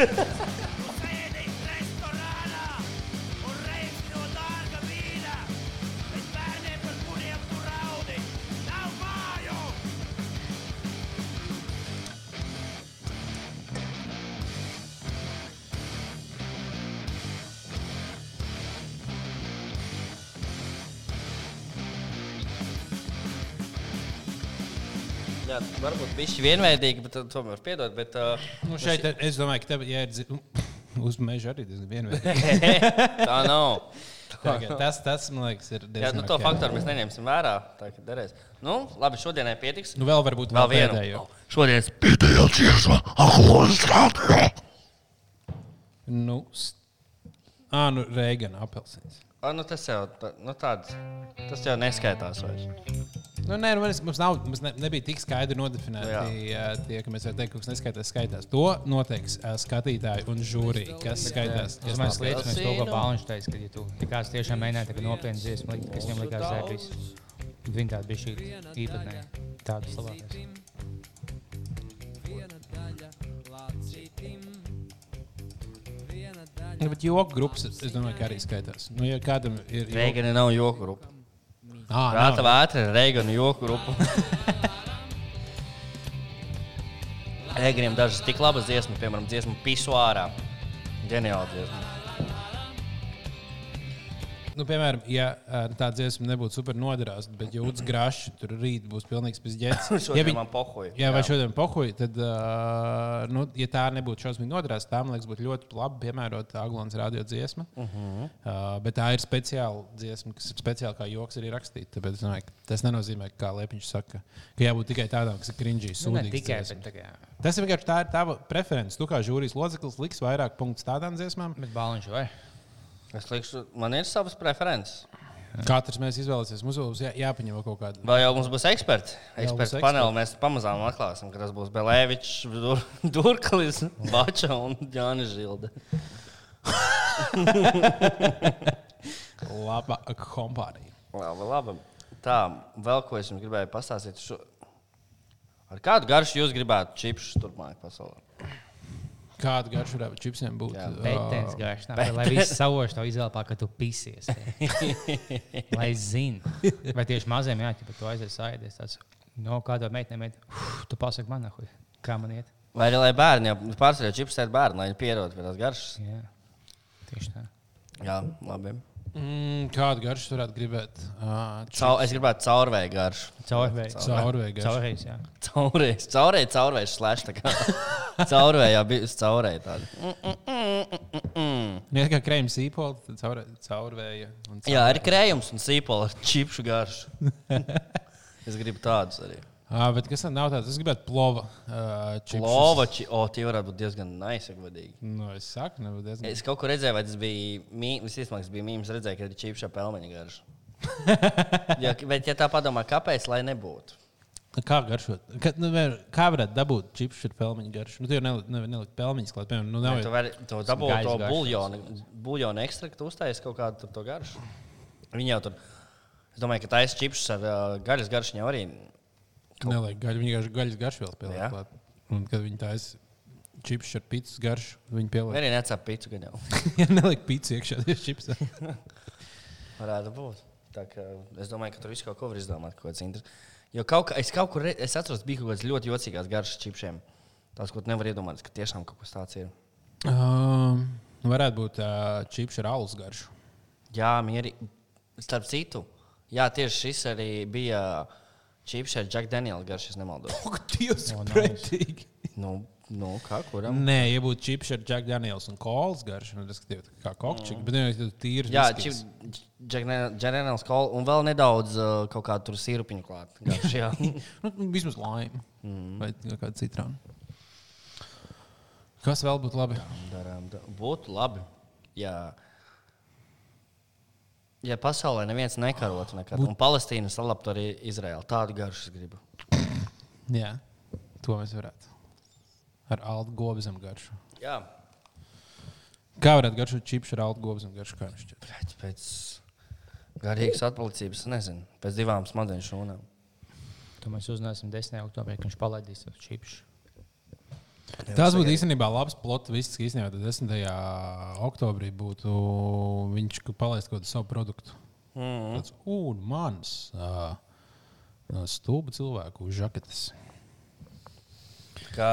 Tu sēdi restorānā, un reizi no dārga vīna, bet bērniem, par kuriem tu raudi, nav māju.
Jā, varbūt viņš ir vienveidīgs, bet uh, tomēr piedod. Bet, uh,
Nu, šeit ir- es domāju, ka tev ja ir dzi- uz meža arī diezgan vienveidīgi.
tā nav.
Tā kā Tas, tas, man liekas, ir
Jā,
diezgan.
nu, to
ok.
faktoru mēs neņemsim vērā. Tā kā derēs. Nu, labi, šodienai pietiks.
Nu, vēl varbūt
Vēl
vēl,
vienu.
pēdējo.
Šodienas
Nu, s- Ā, nu, Reigana apelsīns.
Ah, nu tas jau tā- nu, tāds, tas jau neskaitās vairs.
Nu, nē, nu, mēs, mums, nav, mums ne, nebija tik skaidri
Jā.
nodefinēti ā, tie, ka mēs varam teikt, ka kas neskaitās. Skaitās. To noteiks ā, skatītāji un žūrija, kas skaitās.
Es
Kas nav.
domāju, ka lietas, mēs to ko Bāliņš teica, ka, ja tu tā kā tiešām mēģināji tā kā nopietni dziesmu, likt, kas viņam likās zēbīs, tad viņa tāda bija šī īpatnē. Tāda Nu, slavākais.
Nu, bet joku grupas, es domāju, ka arī skaitās. Nu, ja kādam ir joku-
Reigani nav joku grupa.
Ā, nav.
Rāta vētra ir Reigani joku grupa. Reiganiem dažas tik labas dziesmas, piemēram, dziesmu pisuārā. Ģeniāla dziesma.
Nu, piemēram, ja ā, tā dziesma nebūtu super noderās, bet jūtas graši, tur rīt būs pilnīgs pizģēts.
Šodien man pohoja.
Jā, vai šodien pohuļi, tad, uh, nu, ja tā nebūtu šausmīgi nodarās, tā, man liekas, būtu ļoti labi piemērota Aglons radio dziesma. Uh -huh.
Mhm.
uh, bet tā ir speciāla dziesma, kas ir speciāli kā joks arī rakstīta. Tāpēc es domāju, ka tas nenozīmē, kā Lepiņš saka, ka jābūt tikai tādām, kas ir krinžīgi
Nu, ne
sūdīgas.
tikai,
dziesmas.
bet tā kā.
Tas ir vienkārši tā ir tava preference. Tu kā žūrijas loceklis liks vairāk punktu tādām dziesmām.
Bet Bāliņš vai?
Es lieku, man ir savas preferences.
Katrs mēs izvēlēsimies. Mums būs jā, jāpaņem vēl kaut kāda.
Vai jau mums būs eksperti?
Jau būs
Eksperts
eksperti.
panelī mēs pamazām atklāsim, ka tas būs Belēvičs, Dur Durklis, Bača un Jānis Žilde.
Laba kompānija.
Labi, labi. Tā, vēl ko es jums gribēju pastāstīt. Šo... Ar kādu garšu jūs gribētu čipsus turpmāk pasaulē?
Kāda garša varētu čipsiem būt?
Jā.
Ā,
Pētens garš, nā, lai viss savož tev izelpā, ka tu pisies. lai zin. Vai tieši maziem jāķi, bet tu aizies aidies. Tāds, no kādā meitnē, meitnē, "Uf, tu pasaki man, nahuj, kā man iet.
Vai arī lai bērni, ja pārsvarā čips ir bērni, lai viņi pierod pie tās garšas?
Jā, tieši tā.
Jā, labi.
Mm, kādu garšu varētu gribēt? Ā,
Cau, es gribētu caurvēju garšu.
Caurveids.
Caurvēja garša.
Caurveids, jā.
Caurvējs, caurvējs, caurvējs, slēdz tā kā. Caurvējā bija caurvējā tāda.
Ja kā krējums īpola, tad caur, caurvēja. un ca-
Jā, ir krējums un sīpola ar čipsu garšu. es gribu tādus arī.
Ā, bet kas tad nav tāds? Es gribētu plova. Uh,
Lovači, o, tie varētu būt diezgan naisagvadīgi.
Nu, es saku, nav diezgan.
Es kaut kur redzēju, vai tas bija mīmīms, tas bija mīmīms, redzēju, ka ir čipša pelmeņa garša. ja, bet, ja tā padomā, kāpēc, lai nebūtu?
Kā garšot? Kā, nu, vēl- kā varētu dabūt čipsu ar pelmeņu garšu? Nu, tu jau nelikt nel, nel, pelmeņus klāt. Piemēram, nu, nav
Vai
jau
tu vari to dabūt
gaisa
to
garša.
buļļonu, buļļonu ekstraktu, uztaisīt kaut kādu tur to garšu? Viņa jau tur. Es domāju, ka taisa čips ar uh, gaļas garšu jau arī.
Neliek gaļu, viņa vienkārši gaļas garšu vēl
Jā.
pieliek. klāt. Un kad viņi taisa čips ar pīcis garšu, viņi pieliek.
Arī necēp pīci, gan jau.
Ja neliek pīcis iekšā, tad ir čips.
Varētu būt. Tā kā es domāju, ka tur viss kaut ko var izdomāt. Kaut kāds inter- jo kaut kā, es kaut kur re- es atceros, bija kaut kāds ļoti jocīgs garšas čipšiem. Tās, ko tu nevar iedomāties, ka tiešām kaut kas tāds ir.
Um, varētu būt uh, čips ar alus garšu.
Jā, mierīgi. Starp citu, jā, tieši šis arī bija čips ar Jack Daniela garšu, ja nemaldos.
Ak, Dievs, Mm, pretīgi!
nu, nu, kā kuram?
Nē, ja būtu čips ar Jack Daniels un kolas garšu, nu, tas skatījās kā kokčiks, bet nevis tas tīrs.
Jā,
viskijs.
čips, Jack Dan- Jack Daniels kola un vēl nedaudz uh, kaut kādu tur sīrupiņu klāt. Garš, jā.
Nu, vismaz laima mm. vai kāda citrona. Kas vēl būtu labi?
darām. da- Būtu labi, ja, ja pasaulē neviens nekarotu nekad. Un Palestīna salaptu arī Izraēlu. Tādu garšu es gribu.
Jā, to mēs varētu. Ar altu gobzem garšu.
Jā,
Kā varētu garšot čips ar altu gobzem garšu? Kā jums šķiet?
pēc, pēc garīgas atpalicības, nezinu, pēc divām smadzeņu šūnām.
To mēs uzzināsim 10. oktobrī, kad viņš palaidīs to čips.
Tas būtu īstenībā labs plots. Viss, kas īstenībā tad 10. oktobrī būtu, viņš palaistu kaut kādu savu produktu. Mm. Tāds, un mans uh, stūba cilvēku žaketes.
Kā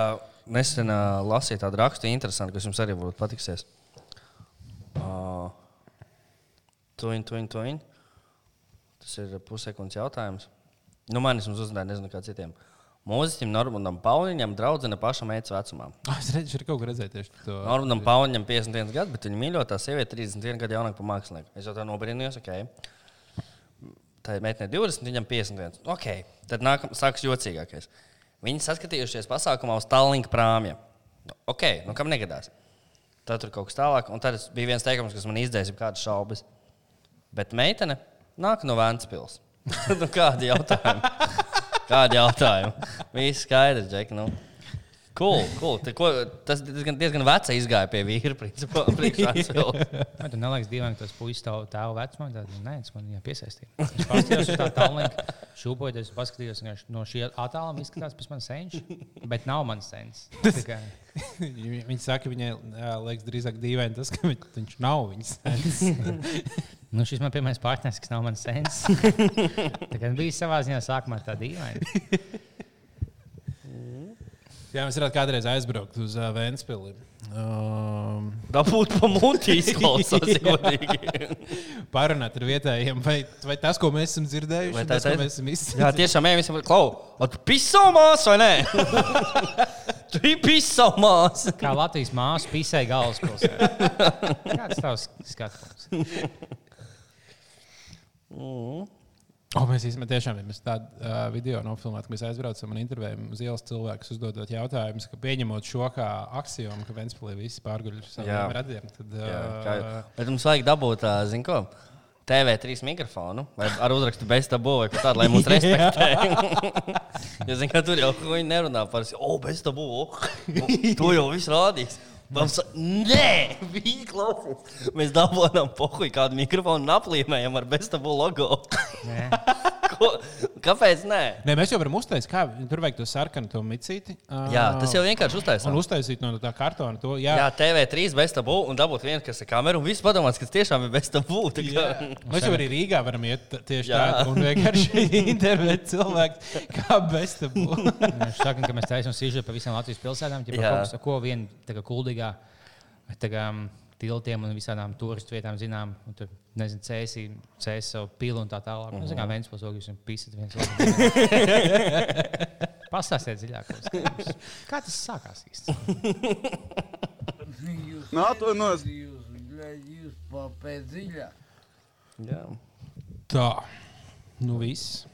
nesen ā, lasīju tādu rakstu, interesantu, kas jums arī varbūt patiksies. Uh, tuin, tuin, tuin. Tas ir pussekundes jautājums. Nu, man ir uzdevums, nezinu, kā citiem. Mūziķim Normundam Pauliņam draudzene pašam eica vecumā.
Es redzu, šeit kaut ko redzēju tieši to.
Normundam Pauliņam 51 gadu, bet viņa mīļotā sieviete 31 gadu jaunāka par mākslinieku. Es jau tā nobrīnījos, ok. Tā ir meitene 20, viņam 51. Ok, tad nākam, sāks jocīgākais. Viņi saskatījušies pasākumā uz Tallinka prāmja. Nu, Ok, nu kam negadās? Tad tur kaut kas tālāk, un tad es- bija viens teikums, kas man izdeisa kādas šaubas. Bet meitene nāk no Vēncpils. nu, kādi jautājumi? kādi jautājumi? Viss skaidrs, Džek. Nu. Cool, cool. Te, ko, tas diezgan, diezgan veca izgāja pie vīra. Principā, priekš Vēncpils.
Man tur neliekas, dīvaini, ka tas puisis tev tēva vecumā. Tad, nu, nē, tas man viņa piesaistīja. Viņš paskatījās uz tā tālāk, šūpojoties, paskatījās vienkārši no šī attāluma, izskatās pēc manas senča. Bet nav mans sens. Tā kā-
Viņa viņa saka, viņai ā, liekas drīzāk dīvaini tas, ka viņ- viņš nav viņas. sens.
Nu, šis man pirmais partneris, kas nav mans sens. Tā kā bija savā ziņā sākumā tā dīvaina.
Jā, mēs varētu kādreiz aizbraukt uz uh, Vēnspili. Um,
Dabūt pa muti izklausās ja godīgi.
parunāt ar vietējiem, vai, vai tas, ko mēs esam dzirdējuši,
Vai
vai
tā
tas, ko
taisa-
mēs
Jā,
esam izdarījuši.
tiešām, ej, visam klau. Ot, pisomās vai nē? Tu ir pisomās.
Kā Latvijas māsa pisai galvaspilsētā. Kāds tavs skatījums?
O, mēs īstenībā tiešām, ja mēs tādu uh, video nofilmētu, ka mēs aizbraucam un intervējam uz ielas cilvēkus, uzdodot jautājumus, ka pieņemot šo kā aksiomu, ka Vēnspilī visi pārguļ uz
Jā.
saviem radiem, tad
Jā,
uh,
kā- Bet mums vajag dabūt, ā, zini, ko? TV3 mikrofonu vai ar uzrakstu bez tabū vai kaut tādu, lai mūsu respektē. jo, zini, kā tur jau viņi nerunā par to, oh, bez tabū, oh, to jau viss rādīs. Mums, nē, viņi klausās. Mēs dabūjām pohuļu kādu mikrofonu un aplīmējam ar bez tabū logo. Ko? Kāpēc nē?
Nē, mēs jau varam uztaisīt, kā tur vajag to sarkanu, to micīti. ā,
Jā, tas jau vienkārši uztaisās.
Un uztaisīt no tā kartona to jā.
Jā, TV3 bez tabū un dabūt vienu, kas ir kamera un viss padomās, ka tas tiešām ir bez tabū. tā kā-
Jā. Mēs jau arī Rīgā varam iet t- tieši
Jā.
tādā un vienkārši intervēt cilvēku, kā bez tam būtu.
Nu, Viņš saka, ka mēs taisām sīžu pa visām Latvijas pilsētām. Ķipa,
Jā.
kaut kas, ko vien tā kā kuldīgā, tā kā mm, tiltiem un visādām turistu vietām zinām. Un tur, nezinu, cēsī, cēsī savu pilu un tā tālāk. Mm -hmm. Zinu, kā viens posms, un pisat viens otru. Pastāstiet dziļāk. ko skatījums. Kā tas sākās īsti?
Nu, atvainojos. Jūs, bļaļ, jūs papēdziļā.
Jā.
Tā. Nu, viss.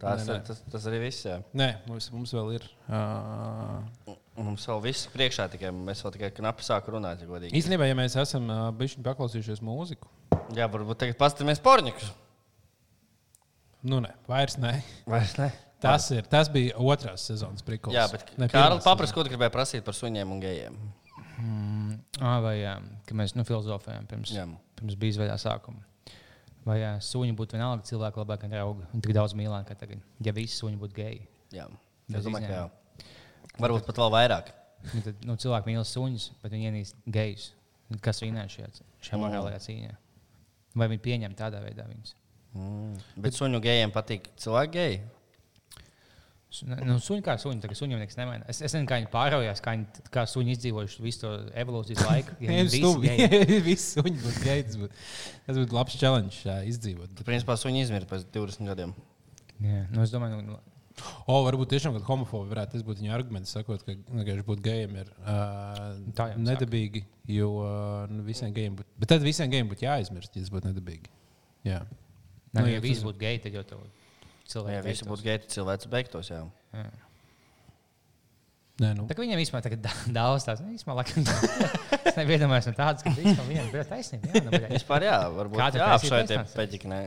Tas,
Nē,
nē,
nē.
tas, tas arī viss. Jā.
Nē, mums, mums vēl ir. Uh,
Mums vēl viss priekšā, tikai mēs vēl tikai knapi sākām runāt. Ja godīgi.
īstenībā, ja mēs esam uh, bijuši paklausījušies mūziku,
Jā, varbūt tagad paskatīsimies porņus.
nu, nē, vairs nē.
Vai ne?
Tas, ir, tas bija otrās sezonas brīnums.
Jā, bet Kārlis paprasti, ko tu gribēji prasīt par suņiem un gejiem.
Ah, vai jā, ka mēs nu, filozofējām pirms,
Jā.
pirms bija izvaļā sākuma. Vai jā, suņi būtu vienalga cilvēka labākā drauga un tik daudz mīlākā tagad? Ja visi suņi būtu geji,
Jā,
Bez
es domāju, ka jā.
izņēmuma.
Varbūt pat vēl vairāk.
nu, tad nu, cilvēki mīl suņus, bet viņi ienīst gejus. Nu, Kas vinēja šajā, c- šajā morālajā cīņā? Vai viņi pieņem tādā veidā viņus?
Mm. Bet suņu gejiem patīk cilvēki geji.
Su- ne- Nu, suņi kā suņi, tagad suņiem nekas nemaina. Es, es nezinu, kā viņi pārējās, kā, viņi, kā suņi izdzīvojuši visu to evolūcijas laiku. ja viņi
Viņam
visi
stūmīgi.
geji.
Viss suņi būtu gaids. būt. Tas būtu labs challenge uh, izdzīvot.
Tad, principā, suņi izmirst pēc 20 gadiem.
Jā, nu, es domāju, nu,
O, varbūt tiešām, ka homofobi varētu tas būt viņa arguments, sakot, ka vienkārši būt gejiem ir uh,
Tā jau saka.
nedabīgi. Jo uh, nu, visiem gejiem būtu. Bet tad visiem gejiem būtu jāaizmirst, ja tas būtu nedabīgi. Jā.
nu, ja
jā,
visi
tas-
būtu geji, tad jau tev cilvēki.
Ja visi
beigtos.
būtu geji, tad cilvēks beigtos. Jā.
Nē, nu.
Tā kā viņam īstenībā tagad da- daudz tādu īstenībā, es nevienojos no tādas, ka viņš viņam bija taisnība. Jā, nu, bļa.
Vispār jā, varbūt
Kā tu
jā,
taisīji
apšai tie
taisnās?
peģiknē.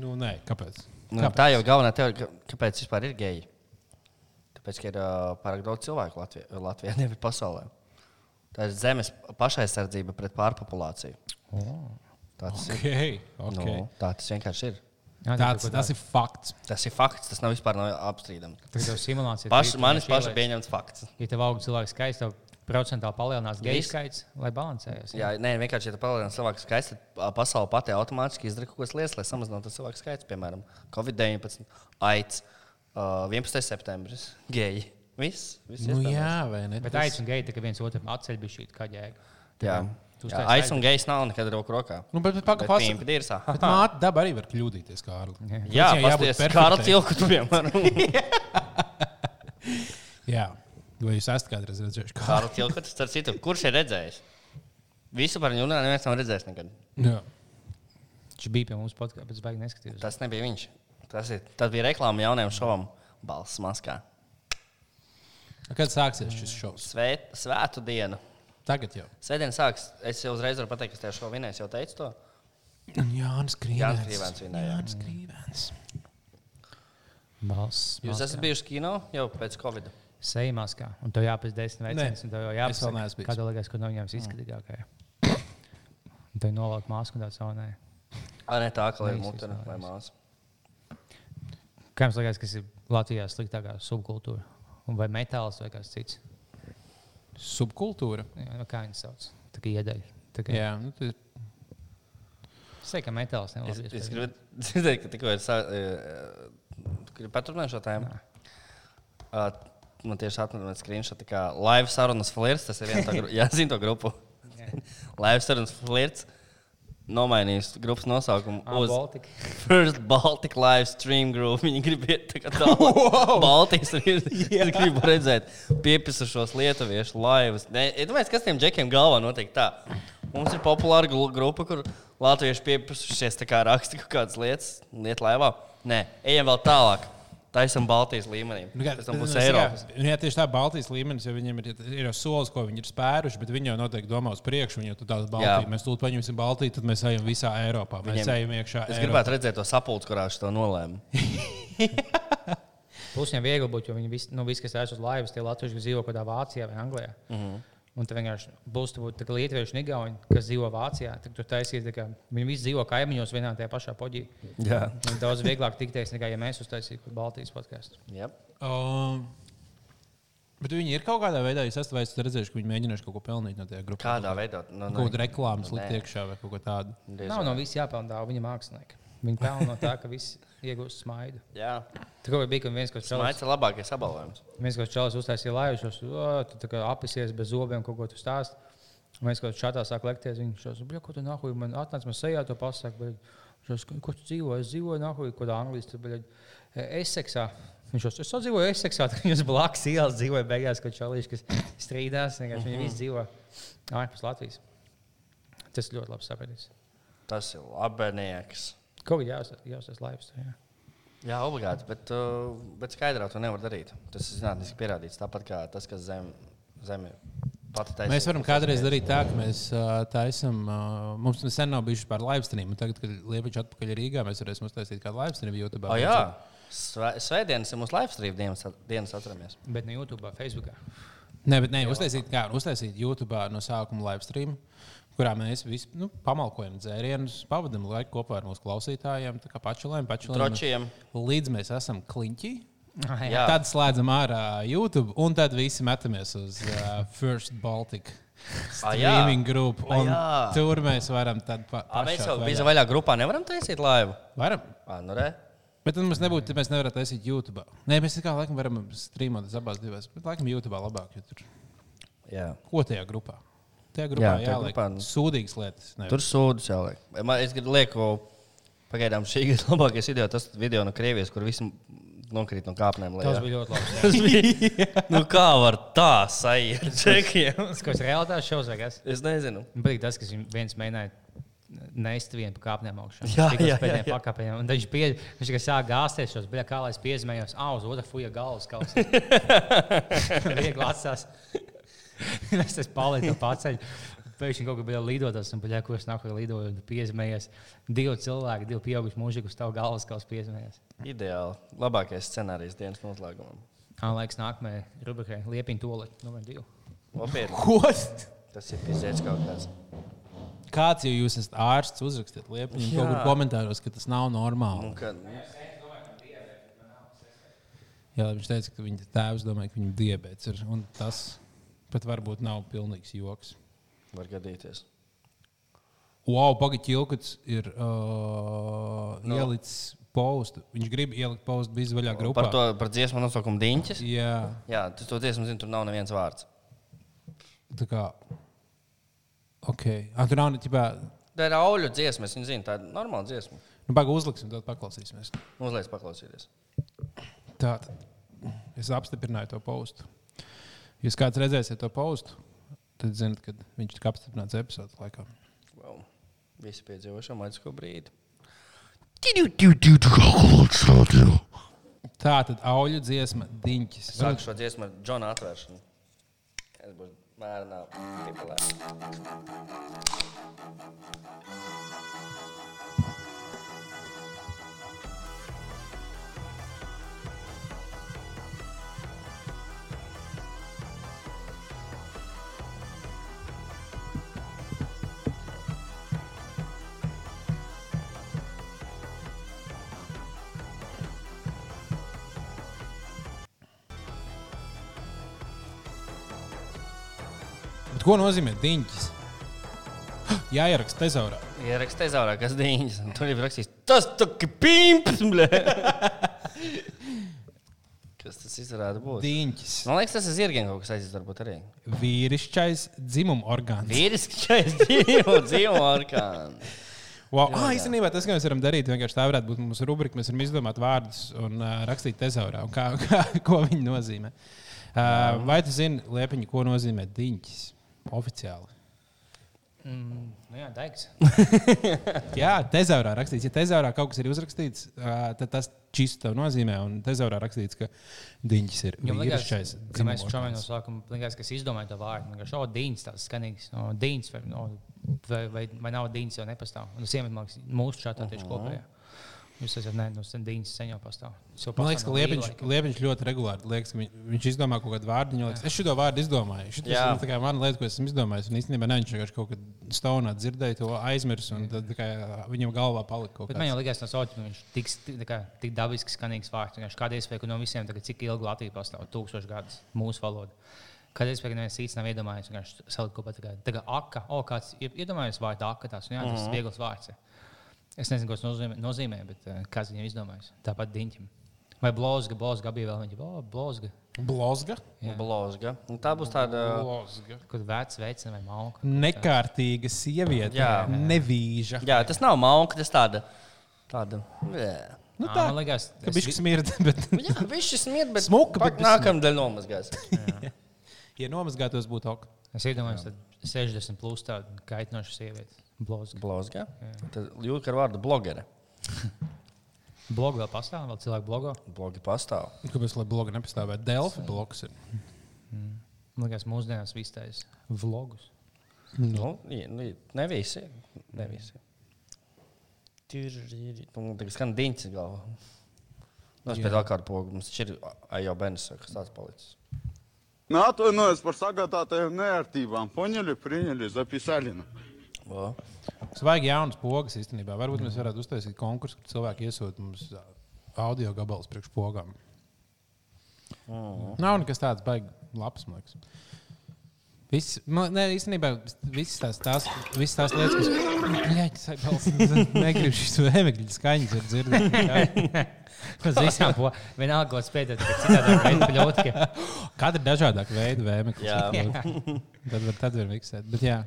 Nu, nē, kāpēc?
Nu, tā jau galvenā teorija, ka- kāpēc vispār ir geji. Tāpēc, ka ir uh, pārāk daudz cilvēku Latvijā, Latvijā nevis pasaulē. Tā ir zemes pašaizsardzība pret pārpopulāciju.
Oh.
Tā tas, okay.
Okay,
ir, nu,
okay.
tā tas vienkārši ir.
Jā,
Tāds,
kaut
tas ir fakts.
Tas ir fakts, tas nav vispār nav apstrīdams.
Tā ir simulācija.
Paš,
Tu
manis
vienkārši
paša
ieliec-
pieņemts fakts.
Ja tev aug cilvēks skaits, tev procentāli palielinās geju
Viss.
skaits, lai balansējos.
Jā, nē, vienkārši, ja tu palielini cilvēku skaitu, tad ā, pasaule pati automātiski izdara kaut ko lietas, lai samazinātu cilvēku skaitu. Piemēram, Covid-19, AIDS, uh, 11. septembris, geji. Viss, viss
Nu,
iespējamais.
jā, vai ne?
Bet aicinu geju, ka viens otram atceļ bija šī kā jēga.
Jā,
Tu
jā
uztaisi
aiz un gejs nav nekad roku rokā.
Nu, bet, bet paka,
Bet
pasa...
pīmpa dirsā.
bet māte daba arī var kļūdīties, Kārli.
Jā,
Policijai jābūt
paskatieties,
perfektai.
kā ar cilku tur piemēram.
Jā, vai jūs esat kādreiz redzējuši kādu?
Kārlis Kilkots, starp citu, kurš ir redzējis? Visu par viņu runāju, neviens nav redzējis nekad.
Jā,
Viņš bija pie mums podkāstā, bet es baigi neskatījos.
Tas nebija viņš. Tas, ir, tas bija reklāma jaunajam šovam Balsts maskā.
Nu, kad sāksies šis šovs?
Svēt, svētu dienu.
Tagad jau.
Svētdien sāks. Es jau uzreiz varu pateikt, kas tajā šovā vinēs. Jau teicu to.
Jā, Jānis
Jānis Krīvēns
Krīvens.
vinēja.
Jānis Krīvens.
Balss.
Jūs esat bijuši kino jau pēc Covid.
Sejmā kā. Un tev jāpēc desmit veicienas, un tev jau
es vēl neesmu
jāpēc
bijis.
kāda liekas, ka no viņiem izskatīgākā. Un tev nolaukt māsku un tā saunē.
Ar ne tā, ka lai
Nevis
mutena
vispār.
vai māsa.
Kā jums liekas, kas ir Latvijā sliktākā subkultūra? Un vai metāls vai kas cits?
Subkultūra.
Jā, nu, kā viņi sauc? Tā kā iedaļa. Tā kā
Jā, nu, tas ir
Saka, ka metāls
Es,
nelabi.
es gribu dzirdēt, ka tikko ir e, sākums. Paturpināt šo tēmu. Ā, Man tieši atnāca skriņšā, kā live sarunas flirts. Tas ir viens no grupām. Jā, zinu to grupu. live sarunas flirts. Nomainījis grupas nosaukumu uz
Baltika.
First Baltic Live Stream Group. Viņi grib iet tā kā tālāk. Baltijas strīdus. Es gribu redzēt piepisušos lietuviešu laivas. Nē, iedomājieties, kas tiem džekiem galvā notiek tā. Mums ir populāra glu- grupa, kur latvieši piepisušies tā kā raksta kaut kādas lietas, lietu laivā. Nē, ejam vēl tālāk. Taisam Baltijas līmenī.
Nu, kā-
Pēc tam
bet,
būs
nu, es-
Eiropas.
Jā, nu, jā, tieši tā Baltijas līmenis, jo viņiem ir, ir jau solis, ko viņi ir spēruši, bet viņi jau noteikti domā uz priekšu. Viņi jau tur tādu Baltiju,
Jā.
mēs tūlīt paņemsim Baltiju, tad mēs ejam visā Eiropā. Mēs
Viņiem-
ejam iekšā.
Es
Eiropā.
gribētu redzēt to sapulci, kurā viņš to nolēma.
Plus viņam viegli būt, jo viņi visi, nu, visi kas ēst uz laivas, tie latvieši kas dzīvo kaut kādā Vācijā vai Anglijā. Mm -hmm.
Mhm.
Un tad vienkārši būs tā, ka lietuvieši un igauni, kas dzīvo Vācijā, tad tur taisīs, tā kā viņi visi dzīvo kaimiņos vienā tajā pašā poģī.
Jā.
Un daudz vieglāk tikties nekā, ja mēs uztaisītu kaut kādu Baltijas podkāstu.
Yep.
Um, Bet viņi ir kaut kādā veidā, es esmu vai esat redzējuši, ka viņi mēģinājuši kaut ko pelnīt no tajā grupā.
Kādā veidā? Nu,
Kaut
nu,
kādu reklāmas likt
Nē.
iekšā vai kaut ko tādu.
diez
Nav
vai.
no visiem jāpelnā viņa mākslinieki. Viņi pelna no tā, ka visi iegūst smaidu.
Jā,
Tur kaut kā bija, ka viens kaut
tas ir labākais apbalvojums.
kāds čalis uztaisīja laivušos, tad apsies bez zobiem, kaut ko tu stāst. Un Mēs kaut kādā čatā sākām lekties. Viņš jau bija, ko tu nahuj, man atnāca, man sejā to pasaka. Viņš jau, ko tu dzīvo, es dzīvoju nahuj, kaut kādā Anglijas, tur bija eseksā. Viņš jau, es jau dzīvoju eseksā, tad viņš blakus ielas dzīvoja beigās, kad čalīši, kas strīdās. vienkārši Viņi visi dzīvo ārpus Latvijas. Tas ļoti labi sapratīs.
Tas ir labenieks.
Kaut kā jāuzstāsta laivas. tur, Jā.
Jā, obligāti, bet, uh, bet skaidrāk to nevar darīt. Tas ir zinātniski pierādīts. Tāpat kā tas, kas zem, zem ir pati taisnība.
Mēs varam kādreiz darīt tā, ka mēs ā, taisam, ā, mums sen nav bijuši par live stream, un tagad, kad Liepaņš atpakaļ ir Rīgā, mēs varēsim uztaisīt kādu live stream YouTube.
Oh, jā, Sve- Svētdienas ir mūsu live stream dienas, dienas atceramies.
Bet ne YouTube, Facebook.
Nē, bet nē, uztaisīt, kā, uztaisīt YouTube no sākuma live stream, kurā mēs visi nu, pamalkojam dzērienus, pavadām laiku kopā ar mūsu klausītājiem, tā kā pačulēm, pačulēm.
Tročiem.
Līdz mēs esam kliņķi.
Jā.
Tad slēdzam ārā YouTube, un tad visi metamies uz uh, First Baltic
Ah, jā.
streaming grupu.
Ah,
un
jā.
Tur mēs varam tad pa,
A, mēs
pašā
jau
vaļā.
bijām vaļā grupā, nevaram taisīt laivu.
Varam.
À, nu re.
Bet tad mums nebūtu, tad mēs nevaram taisīt YouTube. Nē, mēs tā kā laikam varam strīmot uz abās divās, bet laikam YouTube labāk. jo Tur.
Jā.
Ko tajā grupā? Tajā grupā jā,
tajā
jāliek
grupā, nu.
sūdīgas lietas. Nevis.
Tur sūdzas jau. liek. Man- Es gribu lieku, pagaidām šī gada labākais video, tas video no Krievijas, kur visi nokrīt no kāpnēm.
Tas
lejā.
bija ļoti labi.
Tas bija. nu, kā var tā sajiet čekiem?
Tas, kas realitātes šovs vai kas?
Es nezinu.
Man patīk tas, ka viņš viens mēģināja nest vienu pa kāpnēm augšā.
Jā,
Tik uz
jā, jā,
pēdējiem
jā.
pakāpieniem. Un tad viņš, pie, viņš tikai sāk gāzties šos, bija kā lai es piezīmējos, ah, uz otru fuja galvas kaut kas. Viegli atsās. es tas palieku paceļ. Pēkšņi kaut kā bija lidotas, un bija ko es nāku lidoju, un piezīmējies. Divi cilvēki, divi pieauguši mūžīgi uz tavu galvas kaut kas piezīmējies.
Ideāli. Labākais scenārijs dienas noslēgumam.
Kā laiks nākamajai rubrikai, liepiņu tolēt, numur Nu, divi.
Nopietni.
Ko?
Tas ir pizdzēts kaut kāds.
Kāds jau jūs esat ārsts, uzrakstiet liepiņu kaut kur komentāros, ka tas nav normāli.
Un ka, nu,
Jā, viņš teica, ka viņa tēvs domāja, ka viņam diabetes ir. un Tas pat varbūt nav pilnīgs joks.
var gadīties.
Wow, pagaidi, Čilkuts ir uh,
Nu.
no. ielicis postu. Viņš grib ielikt postu bizvaļā grupā.
Par to par dziesmu nosaukumu Diņķis.
Jā,
Jā, tas to dziesmu zinu, tur nav neviens vārds.
tā kā. Ok. Ah, tur nav ne tikai.
Tā ir auļu dziesma, es viņu zinu, tā ir normāla dziesma. Nu,
Nu, Pagaidi, uzliksim, tad paklausīsimies.
Uzliek, paklausieties.
Tā tad es apstiprināju to postu. Jūs kāds redzēsiet to postu, tad zinat, ka viņš tika apstiprināts epizodes laikā.
Wow. Visi piedzīvojuši maģisko brīdi.
Tā tad auļu dziesma, diņķis.
Sāku šo dziesmu ar Džona atvēršanu. Es būšu mērnā tipulē.
Bet ko nozīmē diņķis? Jā, ieraksta tezaurā.
Ierakstē zaurā, kas dīņas. un Tur jau rakstīs, tas tuki pimps, blē. kas tas izrāda būt?
Diņķis.
Man liekas, tas ir zirgiem kaut kas aizies varbūt arī.
Vīrišķais dzimuma orgāns.
Vīriski šais dzīvo, dzīvo orkāns.
Wow. Jā, ah, īstenībā tas, ko mēs varam darīt, vienkārši tā varētu būt mūsu rubrika. Mēs varam izdomāt vārdus un uh, rakstīt tezaurā, un kā, kā, ko viņi nozīmē. Uh, vai tu zini, Liepiņa, ko nozīmē diņķis oficiāli?
Mm, nu jā, daigs.
Jā, tezaurā rakstīts, ja tezaurā kaut kas ir uzrakstīts, ā, tad tas čīsts tev nozīmē. Un tezaurā rakstīts, ka diņķis ir
Jo man liekas,
vīrišķais.
ka mēs
dzimuma
šodien no
orgāns.
sākuma man liekas, kas izdomāja to vārdu. Man liekas, o, dīns tāds skanīgs. O, dīns vai, no, vai, vai, vai nav dīns jau nepastāv. Un siemet, man liekas, mūsu šādā tieši kopējā. Jūs esat, nē, nu, sen dīns sen jau pastāv. Tas jau
Man liekas,
pastāv
ka
no
Liepiņš,
līlaika.
Liepiņš ļoti regulāri liekas, ka viņ, viņš izdomā kaut kādu vārdu. Viņam Liekas, es šo vārdu izdomāju. Šis ir
Jā.
tā kā mana lieta, ko esmu izdomājis. Un īstenībā ne, viņš vienkārši kaut kādā stāvā dzirdēja to aizmirst. Un tad tā kā, viņam galvā palika kaut
Bet man
kas
jau liekas, tas ir viņš tiks ti- tā kā tik dabiski skanīgs vārds. Vienkārši Kāda iespēja, ka no visiem tagad cik ilgi Latvija pastāv, tūkstoši gadus mūsu valoda. Kāda iespēja, ka neviens īsti nav iedomājies, vienkārši salikt kopā tagad. Tagad aka, o, kāds ir iedomājies vārdu aka, tās, un jā, tas ir
Mhm.
viegls vārds. ir. Es nezinu, ko tas nozīmē, nozīmē bet eh, kāds viņam izdomājis. Tāpat diņķim. Vai blūzga, blūzga bija vēl viņa, o, blūzga.
tāds - blozga.
Jā.
Blozga. Un tā būs tāda.
blozga.
Kaut vecs veids vai malka.
Nekārtīga sieviete,
Jā.
nevīža.
Jā, tas nav mauka, tas tāda. Tāda. blē.
Nu,
Ā,
tā
man liekas,
ka
es
viņš smird, bet,
Jā, viņš ir smirds, bet
Smuka,
pak
bet
nākamdēļ nomazgās.
ja nomazgātos, būtu ok.
Es iedomājos, ka 60 plus tāda kaitinoša sieviete. Blūzga.
Blozga. Tad jūtas ar vārdu blogere.
Blogi vēl pastāv, vēl cilvēki blogo.
Blogi pastāv.
Kāpēc lai bloga nepastāvētu? Delfi bloks ir.
Man liekas, mūsdienās viss tāds vlogs.
Nu, i- nu, i- ne visi. Ne visi. Nu, Man tagad skan diņķis galvā. Nu, es pēdējā kārtā pogu. Mums taču ir Ajo Benis, kas tāds palicis.
Nu, atvainojos par sagādātajām neērtībām. Poņeļi, priņeļi, zapisāļi.
Vo.
Svaigi jaunas pogas īstenībā. Varbūt mēs varētu uztaisīt konkursu, kur cilvēki iesūta mums ā, audio gabalus priekš pogām. Nav nekas tāds baigs, labs, man liekas. Viss, man, ne, īstenībā visas tās, tās, visas tās lietas, kas manā skatījumā, negribu šīs emigrantu skaņas var dzirdēt. Jā.
Uz visām pusēm. Vienalga, ko spēļot, ka citādi veidā kļūt. ka-
Katra ir dažādāka veida
Jā.
vēmeklis. Tad var, tad var miksēt. Bet, jā.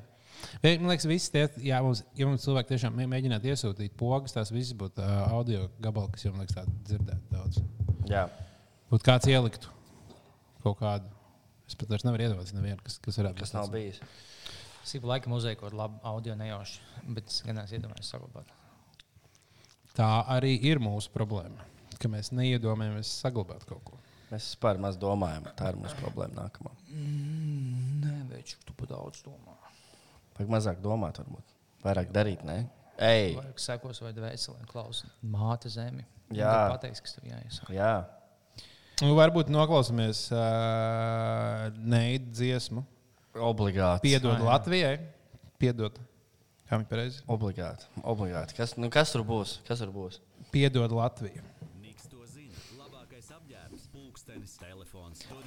Vai- Man liekas, visas tie, jā, mums, ja mums cilvēki tiešām mē- mēģinātu iesūtīt pogas, tās visas būtu uh, audio gabali, kas jums liekas, tādu dzirdēt daudz.
Jā,
Būtu kāds ieliktu kaut kādu. Es pat vairs nevaru iedomāties, nevienu, kas, kas varētu
kas
būt
nav
tāds.
bijis.
Es jau laikam uzveiktu ar labu audio nejauši, bet es gan es iedomājos saglabāt.
Tā arī ir mūsu problēma, ka mēs neiedomājamies saglabāt kaut ko.
Mēs par maz domājam. Tā ir mūsu problēma nākamā.
Nē, veids, tu pa daudz domā.
Vajag mazāk domāt, varbūt. Vairāk darīt, ne? Ei,
Vairāk sekos vai veicelēm klaus. Māte zemi.
Jā.
Tad Pateiks, kas tev jāiesaka.
jā.
Nu, varbūt noklausāmies uh, neidu dziesmu.
Obligāti.
Piedod Latvijai. Piedod. Kā viņi pareizi?
Obligāti. Obligāti. Kas, nu, kas tur būs? Kas tur būs?
Piedod Latviju.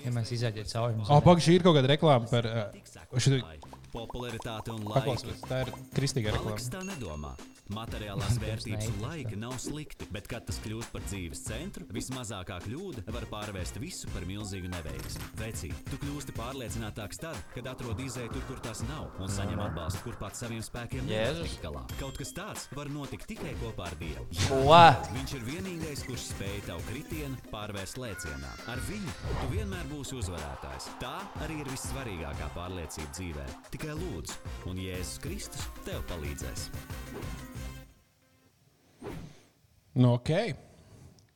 Ja mēs izaiet cauri, mums
Oh, Pagaidzi, šī ir kaut kāda reklāma par uh, šo
Popularitāte un laika.
paklausību. Tā ir kristīga
Aleks
reklāma.
tā nedomā. Materiālās vērtības un laika nav slikti, bet kad tas kļūst par dzīves centru, vismazākā kļūda var pārvērst visu par milzīgu neveiksmi. Vecīt, tu kļūsti pārliecinātāks tad, kad atrod izēju tur, kur tās nav, un saņem atbalstu, kur pats saviem spēkiem nevar
Jēzus.
tikt galā. Kaut kas tāds var notikt tikai kopā ar Dievu.
Ko?
Viņš ir vienīgais, kurš spēj tavu kritienu pārvērst iekāpies lēcienā. Ar viņu tu vienmēr būsi uzvarētājs. Tā arī ir vissvarīgākā pārliecība dzīvē. Tikai lūdzu, un Jēzus Kristus tev palīdzēs.
Nu, ok.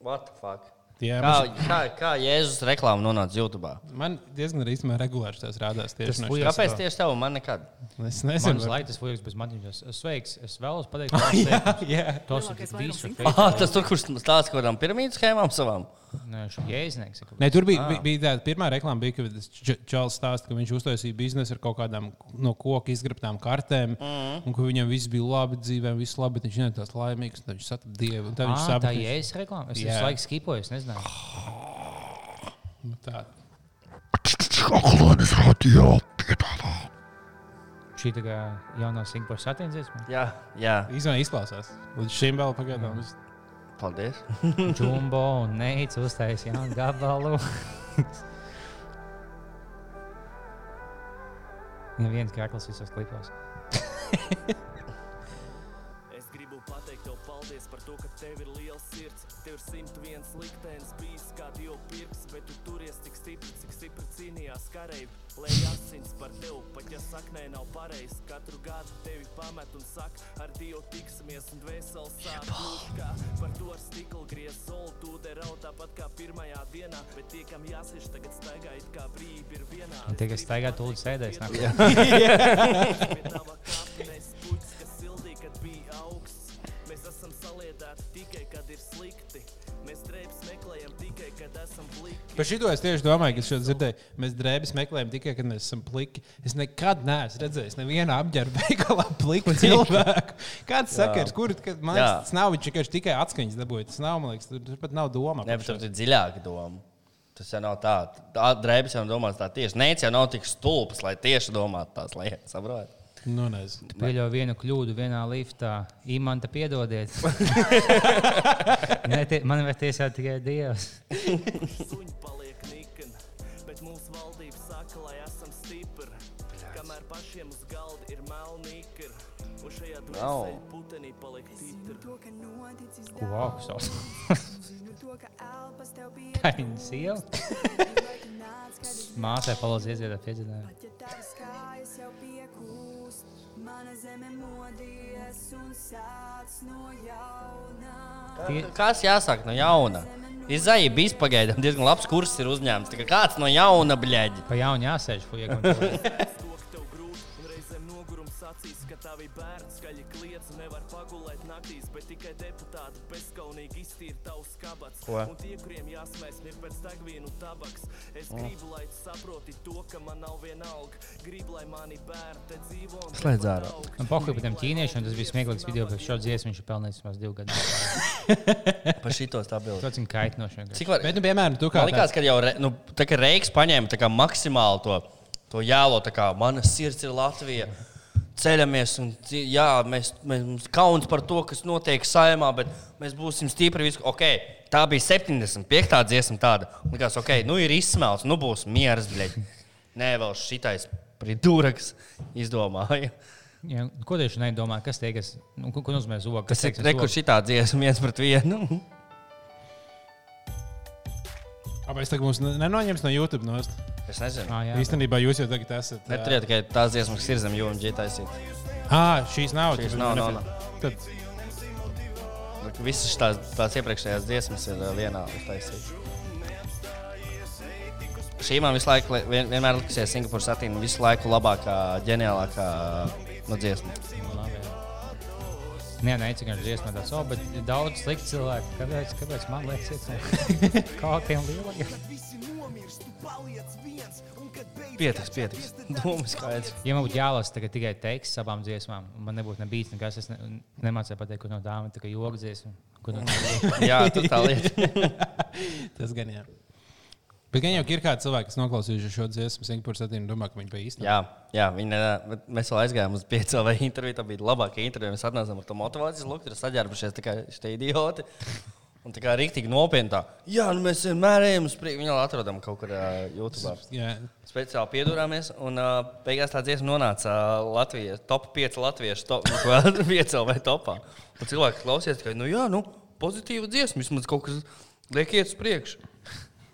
What the fuck?
Jā,
kā,
mums-
kā, kā Jēzus reklāma nonāca YouTube?
Man diezgan arī īstenībā regulāri tas rādās. Tieši
Tas
no
fuj-
šitās
Kāpēc
to-
tieši tev man nekad?
Es nezinu.
Mans
var-
laiks, tas fujoks bez matiņas. Sveiks, es vēlos pateikt,
Jā,
kas
jā.
tas ir visu.
Ah, tas tur, kurš stāsta kaut kādām piramīdu schēmām savām.
Nē, šim jēznieks. ir kaut
Ne,
kas.
tur bija, ah. bija tāda pirmā reklāma, bija, kad tas Dž- Čārlis stāstīja, ka viņš uztaisīja biznesu ar kaut kādām no koka izgrabtām kartēm, mm. un ka viņam viss bija labi dzīvē, viss labi, bet viņš nebija tāds laimīgs, un tad viņš saprata dievu. un Tad viņš
Ā, "Ah, Tā
saprata,
ir jēzus reklāma. Es
Jā.
visu laiku skipoju, es nezinu.
Nu, tā.
Šī tā kā jaunā Singapūras satiensības.
Jā, jā.
Izmēr izklausās. Līdz šim vēl pagaidām. Mm.
Paldies.
Džumbo un neic uztais jaunu gabalu. Neviens kakls visos klipos.
Es gribu pateikt tev paldies par to, ka tev ir liels sirds. Tev ir 101 liktenis bijis kā divu pirks, bet tu turies tik stipri, cik stipri cīnījās kareivi. Lai asins par tevi, pat ja saknē nav pareizi, katru gadu tevi pamet un saka, ar Dievu tiksimies un dvēseles sāk lūgt, kā par to ar stiklu griez soli, tūde raud tāpat kā pirmajā dienā, bet tie, kam jāsiš tagad staigā, it kā brīvi ir vienā.
Un tie, kas staigā, tūlīt sēdēs. nāk.
Mēs esam saliedāti tikai, kad ir slikti. Mēs drēbes meklējam tikai, kad esam pliki.
Par šito es tieši domāju, ka es šo dzirdēju. Mēs drēbes meklējam tikai, kad mēs esam pliki. Es nekad neesmu redzējis nevienu apģērbu veikalā pliku cilvēku. Kāds
Jā.
sakars, kur kad, man
Jā.
liekas, tas nav viņš vienkārši tikai atskaņas dabūjis. Tas nav, man liekas, tur, tur pat nav doma.
Nē, bet tur ir dziļāka doma. Tas jau nav tā. tā Drēbis jau domā tā tieši. Nē, jau nav tik stulbs, lai tieši domātu tās lietas. Saprot?
Nu, nezinu.
Tu pieļauj vienu kļūdu vienā liftā. Imants, piedodiet. Nē, tie- Man ir tiesā tikai Dievs.
Suņi paliek nikni, bet mūsu valdība saka, lai esam stipri. Kamēr pašiem uz galda ir melnīgi, un šajā dvēselē putenī paliek tītri.
Ko augstās? Tā ir viņa sieva. Māsai palūdz iedzīvot piedzīvojumu. Tie-
Kas jāsāk no jauna? Izaija bija pagaidām diezgan labs kurs, ir uzņēmts. Tā kā Kāds no jauna bļaģi?
Pa jaunu jāsēž, fuck.
Reizēm nogurums acīs, ka tavi bērni skaļi kliedz un nevar pagulēt naktīs, bet tikai deputāti bezskaunīgi iztīra tavs kabats.
Ko?
Un tie, kuriem jāsmēs, ir pēc degvīnu tabaks. Es
Mm.
gribu, lai tu saproti to, ka man nav vienalga. Gribu, lai mani bērni te dzīvo un
Slēdz ārā.
Man patīk, ka tam ķīniešiem tas bija smieklīgs video, bet šo dziesmu viņš ir pelnījis vismaz divu gadu.
Par šito stabilu.
Tas ir kaitinoši. vienkārši.
Cik var?
Bet, nu, piemēram, tu kā
Man liekas,
tāds-
ka jau re, nu, tā kā Reiks paņēma tā kā maksimāli to, to jēlo, tā kā mana sirds ir Latvija. Ceļamies, un ci- jā, mēs, mēs, mums kauns par to, kas notiek saimā, bet mēs būsim stipri. Visu, okay, tā bija 75. dziesma, tāda. Man Likās, ok, nu ir izsmelts, nu būs miers, bļaļ. Nē, vēl šitais pridūraks izdomāja.
Jā, Ko tieši nedomā? Kas tie, kas, nu, ko, ko nozīmē zogs?
Kas ir rekurss šitā dziesma, viens pret vienu?
Kāpēc tagad mums ne- nenoņems no YouTube nost?
Es nezinu.
Ah, jā.
Īstenībā jūs jau tagad esat. ā,
Neturiet tikai tās dziesmas, kas ir zem jūnija taisītas.
Ā, šīs nav.
Šīs
tad-
nav, nav,
Tad,
Visas tās, tās iepriekšējās dziesmas ir ā, vienā uztaisīta. Šī man visu laiku, li- vien, vienmēr likusies Singapūras satīna visu laiku labākā, ģeniālākā nu, no dziesmu.
Nē, nē, cik tādu dziesmu tādu savu, bet ir daudz sliktu cilvēku. Kāpēc, kāpēc man liekas, ir kaut kādiem lielākiem?
Pietiks, pietiks. Domas skaidrs.
Ja man būtu jālasa tagad tikai teksts savām dziesmām, un man nebūtu nebijis nekas, es ne, nemācīju pateikt, kur no tām ir tā kā joks dziesma. kur No tām ir-
Jā, tur tā lieta.
tas gan jā. Bet gan jau ir kādi cilvēki, kas noklausījušies šo dziesmu, Singapūras satīnu, domā, ka viņi bija īsti.
Jā, jā viņa, ā, bet mēs vēl aizgājām uz pieciem vai interviju. Tā bija labākā intervija. Mēs atnācām ar to motivāciju. Lūk, tur saģērbušies tikai šie idioti. Un tā kā rīktīgi nopietni tā. Jā, nu mēs vienmēr ejam uz priekšu. Viņu vēl atrodam kaut kur ā, YouTube.
Jā.
Speciāli piedurāmies, un uh, beigās tā dziesma nonāca uh, Latvijas top 5 latviešu top 5 vai topā. Un cilvēki klausījās, ka, nu, jā, nu, pozitīva dziesma, vismaz kaut kas Liek iet uz priekšu.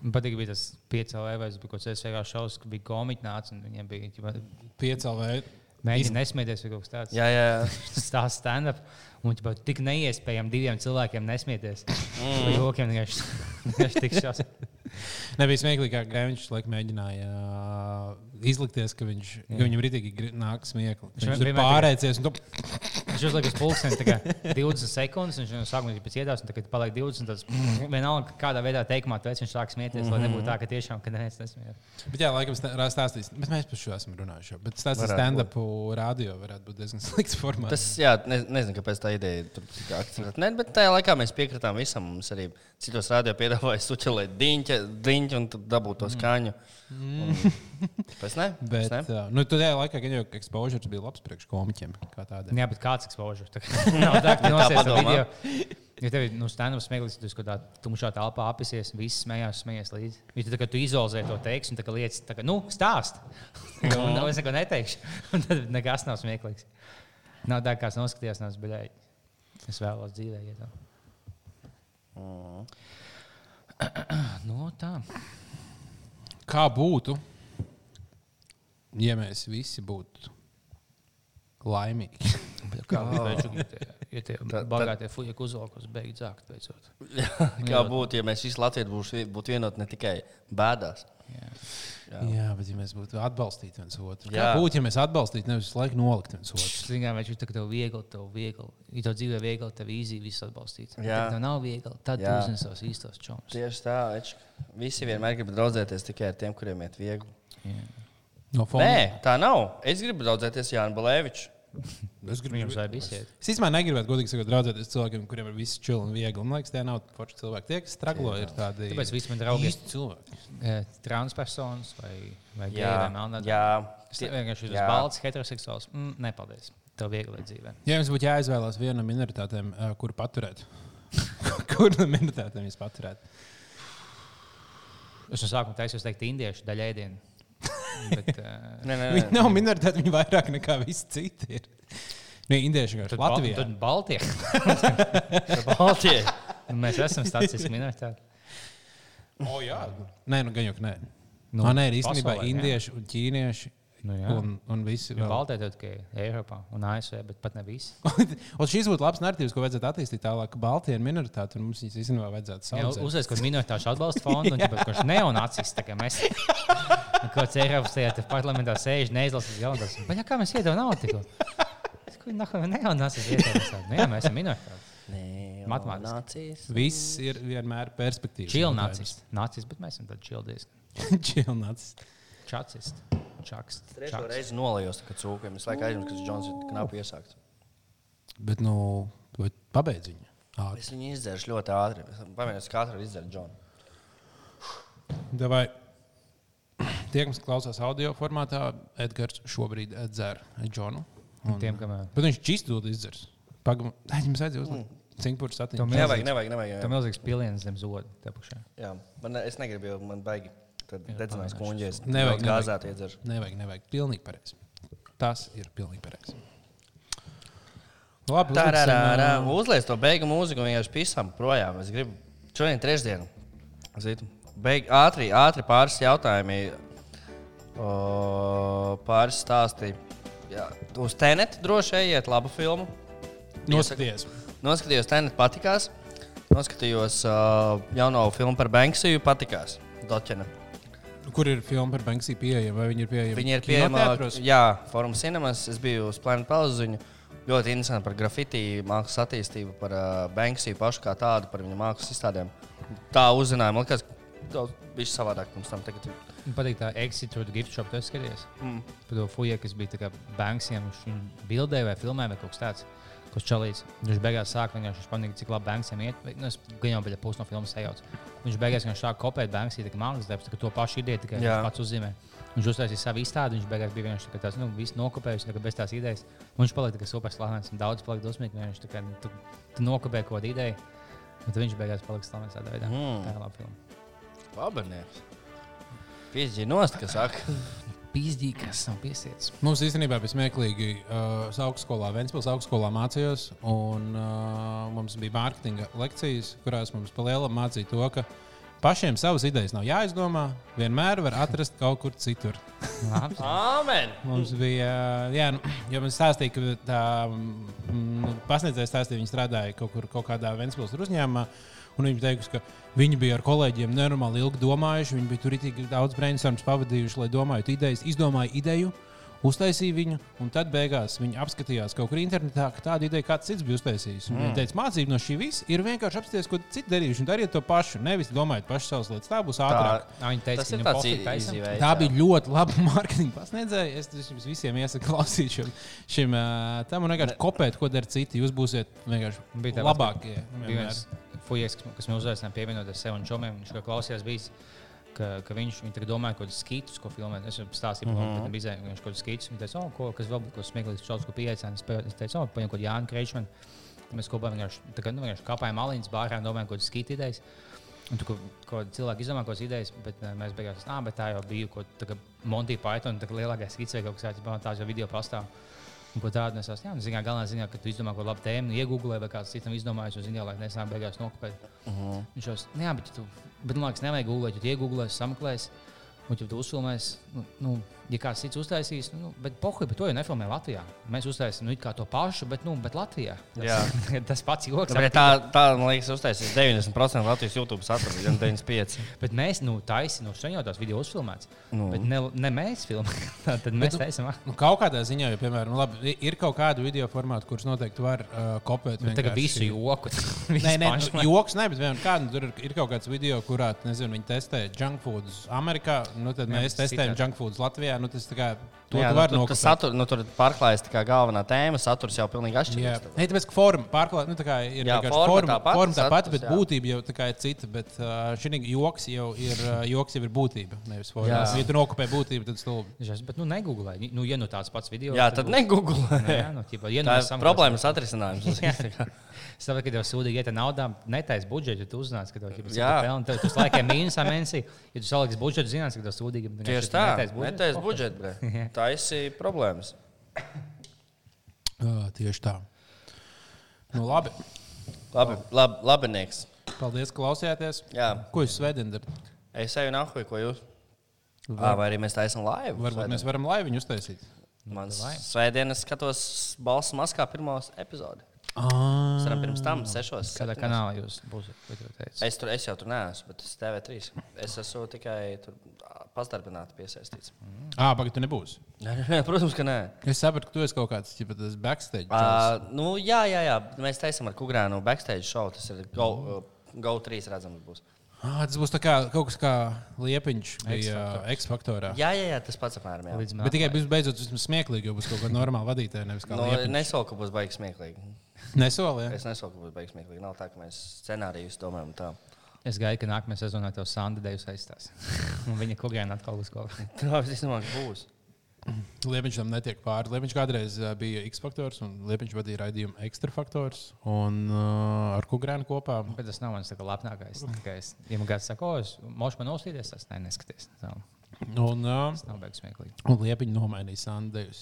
Man patīk, bija tas E piecēlē, vai tas bija kaut kas tāds, vienkārši šausmas, ka bija komiķi nāca un viņiem bija ķipa-
Piecēlē.
Mēģinājums nesmieties, vai kaut kas tāds.
Jā, jā.
Stāsts stand-up. Un tas bija tik neiespējami diviem cilvēkiem nesmieties.
Mm.
Mm. Jokiem vienkārši vienkārši tik šausmas.
Nebija smieklīgi, kā Grēviņš laikam mēģināja ā, izlikties, ka, viņš,
Jā.
ka viņam rītīgi gri- nāk smieklīgi.
Viņš
Viņš ir
vienmēr
pārēcies. un tu-
Viņš uzliek uz pulksteni tā kā 20 sekundes, un viņš no sākuma ir pēc iedās, un tagad paliek 20. Tas vienalga, kādā veidā teikumā tu esi, viņš sāk smieties, lai nebūtu tā, ka tiešām, ka neviens nesmieties.
Bet jā, laikam, stā- rā- stāstīs. Bet mēs par šo esam runājuši. jau. Bet stāstīt
Varētu
stand-up radio varētu būt diezgan slikts formāts.
Tas, jā, ne, nezinu, kāpēc tā ideja tur tika akcentēta. Nē, bet tajā laikā mēs piekritām visam. Mums arī citos rādījumos piedāvāja suķelēt diņķi, diņķi un tad dabūt to skaņu. Un- Pēc ne?
Bet,
Pēc ne?
ā, nu, tajā laikā, kad jau ekspozīcijas bija labs priekš komiķiem, kā tādiem.
Nu Jā, bet kāds ekspozīcijs? Nav tā, ka
Tā
nosies to
padomā.
video. Ja tev ir nu, stand-up smieklīgs, tad tu esi kaut kādā tumšā telpā apēsies, un viss smējās, smējās līdzi. Ja tu, tā kā tu izolzē to teiksmu, tad lietas, tā kā, nu, stāst. Un nav, es neko neteikšu. Un tad nekas nav smieklīgs. Nav tā, kā es noskatījos, nav zbeļēji. Es vēlos dzīvē iet. tā. Nu, tā.
Kā būtu, ja mēs visi būtu laimīgi? Kā?
Kā bija? Ja tie
Tad- tad-
bagātie fuļķi uzvalkos, beidz zākt beidzot.
Jā, Kā būtu, ja mēs visi Latvijā būtu, būtu vienoti ne tikai bēdās?
Jā. jā, bet ja mēs būtu atbalstīti viens otru. Jā.
Jā.
Kā būtu, ja mēs atbalstītu, nevis visu laiku nolikt viens otru?
Zinām, viņš ir tā kā tev viegli, tev viegli. Ja tev dzīvē viegli, tev īzīgi viss atbalstīt.
Jā.
Ja tev nav viegli, tad tu
Jā.
uzzini savus īstos čomus.
Tieši tā, Ečka. Visi vienmēr grib draudzēties tikai ar tiem, kuriem iet viegli.
No fonda.
Nē, tā nav. Es gribu draudzēties Jānis Balēvičs.
Es gribu
Viņam vajag visiet.
Es īstenībā negribētu, godīgi sakot, draudzēties ar cilvēkiem, kuriem ir viss čili un viegli. Man liekas, tie nav forši cilvēki. Tie, kas strāglo, ir tādi
Tāpēc visi mani draugi ir-
īsti cilvēki.
Eh, Transpersonas vai, vai
Jā.
gēra vai melnā.
Jā.
Tas vienkārši ir
Jā.
balts, heteroseksuāls. Mm, nepaldies. Tev viegli dzīvē.
Ja jums būtu jāizvēlās viena no minoritātēm, eh, kur paturēt, kur no minoritātēm jūs paturētu?
Es no sākuma taisījos teikt indiešu daļai dienu. Bet, eh,
Nē, nē,
Viņi nav minoritāte, viņi vairāk nekā visi citi ir. Nu, indieši vienkārši Latvijā.
Tad Baltija.
Baltie.
Nu, Mēs esam statistiski minoritāti.
O, jā. Nē, nu gan jau, ka nē.
Nu,
Nu, nē, ir īstenībā
pasaulē, jā.
indieši un ķīnieši.
Nu, jā. Nu,
un, un visi
Jo
vēl.
Baltija ir tikai Eiropā un ASV, bet pat ne visi.
Un šis būtu labs narratīvs, ko vajadzētu attīstīt tālāk. ka Baltija ir minoritāte, un mums viņas īstenībā vajadzētu saukt.
Uzreiz, kad minoritāšu atbalsta fondu, un tāpēc, kurš neonacis, tā kā mēs Nu, kāds Eiropas tajā te parlamentā sēž, neizlasīs galvenās. Bet ja kā mēs iedodam naudu tikko? Es Ko viņi nākam neonacis iedodam? Nu, jā, mēs esam minoritāti.
Nē,
Matemātiski.
nācijas.
Viss ir vienmēr perspektīva.
Čil nacis. Nacis, bet mēs esam tad čildies.
Čilnācis.
Čacist. Čakst.
Trešo
čakst.
reizi nolējos ar cūkiem. Es laikam aizmirsu, kas Džons ir knapi iesākts.
Bet, nu, vai pabeidz viņu. Ātri.
Es viņu izdzeršu ļoti ātri. Es pamēģināju, kā katru izdzert Džonu.
Davai. Tie, kas klausās audio formātā, Edgars šobrīd eh, dzer Džonu. Un,
Tiem, kam
Bet viņš čistot izdzers. Pagaidām, viņam vajadzēja uzlikt.
Mm.
Cinkpūrs
Tu
satiņš.
milzīgs-
Nevajag, nevajag, nevajag.
Tu
nevajag.
milzīgs piliens zem zoda. te apakšā.
Jā, man, ne- es negribu, jo man baigi. Tad dedzinās kuņģies.
Nevajag,
gāzēt, iedzert.
Nevajag, nevajag. Pilnīgi pareizi. Tas ir pilnīgi pareizi. Labi,
Tā ir tā
uzliksim,
līnija. Uzliek to beigu mūziku, un vienkārši pisam projām. Es gribu šodien, trešdienu, zīt, beig, ātri, ātri pāris jautājumi, o, pāris stāsti. Jā, uz Tenetu droši ejiet, labu filmu.
ā, Noskaties.
Noskatījos Tenetu, patikās. Noskatījos uh, jauno filmu par Banksiju, patikās. Doķena.
Kur ir filma par Banksiju pieejama? Vai viņi ir pieejami?
Viņi ir pieejami
kinoteātros?
Jā, Forum Cinemas. Es biju uz Planet Pauziņu. Ļoti interesanti par grafitī, mākslas attīstību, par uh, Banksiju pašu kā tādu, par viņa mākslas izstādēm. Tā uzzināja, man liekas, daudz viss savādāk pirms tam. Tagad, ir-
Man patīk tā exit to the gift shop, tas skaties. Mm. Par to fuja, kas bija tā kā Banksiem, viņš viņu bildē vai filmē vai kaut kas tāds. Kurš čalīs, viņš beigās sāk vienkārši pamanīt, cik labi Banksiem iet. vai- Nu, es gan jau biju pusi no filmas sajaucis. Viņš beigās vienkārši sāk kopēt Banksī, tā kā mākslas darbs, tā kā to pašu ideju tikai
Jā.
viņš pats uzzīmē. Viņš uztaisīja savu izstādi, viņš beigās bija vienkārši tā kā tāds, nu, viss nokopējis, tā kā bez tās idejas. Un viņš palika tā kā super slavens, un daudz palika dosmīgi, ka viņš tā kā nu, tu, tu nokopē kaut kādu ideju. Un tad viņš beigās palika slavens tādā veidā.
Mm.
Tā ir laba filma.
Labanieks. Piedzīvi nost, kas saka.
pīzdī, kas nav piesiets.
Mums īstenībā bija smieklīgi. uh, Es augstskolā, Vēncpils augstskolā mācījos, un uh, mums bija mārketinga lekcijas, kurās mums palielam mācīja to, ka pašiem savas idejas nav jāizdomā, vienmēr var atrast kaut kur citur.
Labi.
Āmen!
Mums bija, jā, nu, jo man stāstīja, ka tā mm, pasniedzēja stāstīja, viņa strādāja kaut kur kaut kādā Vēncpils uzņēmumā. Un viņš teica, ka viņi bija ar kolēģiem nenormāli ilgi domājuši. Viņi bija tur tik daudz brainstorms pavadījuši, lai domātu idejas, izdomāja ideju, uztaisīja viņu, un tad beigās viņi apskatījās kaut kur internetā, ka tāda ideja kāds cits bija uztaisījis. Mm. Viņi
Mm.
teica, mācība no šī visa ir vienkārši apstāties, ko citi darījuši, un dariet to pašu. Nevis domājiet pašas savas lietas, tā būs ātrāk.
Nā, viņi teica,
tas
ka
ir
viņam
tāds
pofīgi taisam.
izdevīgs.
Tā bija ļoti laba mārketinga pasniedzēja. Es tas jums visiem iesaku klausīt šim, šim ā, tam un vienkārši kopēt, ko dara citi. Jūs būsiet
Bija
vienkārši
tā
labākie.
Bija
vienmēr.
viens fujies, kas, kas man uzaicināja pievienot ar sevi un čomiem. Viņš kā klausījās, bijis, ka, ka viņš viņi tagad domāja kaut kādus skītus, ko filmēt. Es jau stāstīju, mm
Mhm.
-hmm. ka bija kaut kāds skītus. Viņš teica, oh, ko, kas vēl bija kaut kas smieklīgs, šauts, ko pieaicināja. Es pa- Es teicu, oh, paņem kaut Jānu Kreičmanu. Tad Mēs kopā vienkārši, tā kā, nu, vienkārši kāpājām malīnas, bārām domājām kaut kādas skītu idejas. Un tur kaut kādi cilvēki izdomā kaut kādas idejas, bet eh, mēs beigās tā, bet tā jau bija kaut kāda Monty Python, tā kā lielākais skits vai kaut kas tāds, man tā jau video pastāv. Un ko tādu nesās, jā, nu, zināmā galā, ziņā, ka tu izdomā kaut kādu labu tēmu, iegūlē vai kāds citam izdomājis, un zināmā laikā nesāk beigās nokopēt.
Mhm.
Viņš jau saka, jā, bet tu, bet, man liekas, nevajag gulēt, tu iegūlēsi, sameklēsi. Un, ja tu uzfilmēsi, nu, nu, ja kāds cits uztaisīs, nu, bet pohuļ, bet to jau nefilmē Latvijā. Mēs uztaisīsim nu, it kā to pašu, bet, nu, bet Latvijā.
Jā.
tas pats joks.
Bet tā, tā, man liekas, uztaisīs 90% Latvijas YouTube satura, ja ne 95%.
Bet mēs nu, taisām, nu, sen jau tās video uzfilmētas.
Nu.
Nu. Bet ne, ne mēs filmējam, tad
Bet,
mēs
nu,
taisām.
Nu, kaut kādā ziņā, jau, piemēram, labi, i- ir kaut kāda video formāta, kurus noteikti var uh, kopēt.
Nu, tagad
vienkārši.
visu joku.
Nē, nē, nu, joks, ne, bet vienam kādam tur ir, ir kaut kāds video, kurā, nezinu, viņi testē junk foods Amerikā, nu tad
Jā,
mēs
tas
testējam
citādi.
junk foods Latvijā, nu tas tā kā, to
Jā, nu,
tu var
tur, tas
nokopēt.
satur, nu, tur pārklājas tā kā galvenā tēma, saturs jau pilnīgi
Jā,
atšķirīgs.
Nē, tāpēc, ka forma pārklāja, nu, tā kā ir
Jā, forma
vienkārši forma,
tā pati,
forma tā pati,
saturs,
bet
jā.
būtība jau tā kā ir cita. Bet uh, šī joks jau ir, uh, joks jau ir būtība. Nevis forma.
Jā.
Ja tu nokopē būtību, tad stulbi.
Žas, bet nu negooglē. Nu, ja nu tāds pats video.
Jā, tad negooglē.
Nu, jā, nu, tīpā, ja nu
Tā ir
mēs samaksāsim-
problēmas atrisinājums.
Jā. Es saprotu, ka tev sūdīgi iet ar naudā, netaisa budžetu, ja tu uzzināsi, ka tev ir
Jā.
jāpelnā. Tad tu laikam mīnusā mēnesī, ja tu saliksi budžetu, zinās, ka tev sūdīgi bet
Tieši
vienkārši
tā,
netaisi budžetu.
netais
Pohuļ.
budžets, bre. Tā ir problēmas.
Uh, tieši tā. Nu, labi.
Labi, labi, labi, nieks.
Paldies, ka klausījāties.
Jā.
Ko jūs svētdien darāt?
Es eju nahuj, ko jūs.
Var-
Ā, Vai arī mēs taisām laivu?
Varbūt mēs varam laivu uztaisīt.
Mans
Davai.
svētdienas skatos balss maskā pirmos epizodus.
Ah.
Es varam pirms tam sešos.
Kādā
septiņos.
kanālā jūs būsiet? ko tu teici?
Es, tur, es jau tur neesmu, bet es TV3. Es esmu tikai tur pastāvīgi piesaistīts.
Ah, pagaidi, tu nebūsi.
Nē, nē, nē, protams, ka nē.
Es sapratu, ka tu esi kaut kāds ķipa, tas backstage. Uh,
Uh, nu, jā, jā, jā, mēs taisām ar Kukrānu backstage šovu. Tas ir GO3 go trīs redzams. Būs.
ah, tas būs tā kā, kaut kas kā liepiņš bija
X-faktors.
X-faktorā.
Jā, jā, jā, tas pats apmēram. Jā.
Līdz
Bet
man.
tikai būs beidzot, tas būs smieklīgi, jo būs kaut kāda normāla vadītāja, nevis kā
Nu,
liepiņš.
Nesolu, ka būs baigi smieklīgi.
Nesolīja.
Es nesolu, ka būs baigi smieklīgi. Nav tā, ka mēs scenārijus domājam tā.
Es gaidu, ka nākamajā sezonā tev Sandra Dejus aizstās. Un viņa kungēna atkal būs kaut kas.
Tā visticamāk būs.
Liepiņš tam netiek pāri. Liepiņš kādreiz ā, bija X faktors un Liepiņš vadīja raidījumu ekstra faktors un uh, ar Kukrānu kopā.
Bet tas nav mans tā kā labākais. Es, ja man kāds saka, o, es mošu man ausīties, tas ne, neskaties. Tas nav-
Un, uh,
Tas nav beigas smieklīgi.
un Liepiņš nomainīja Sandēļus.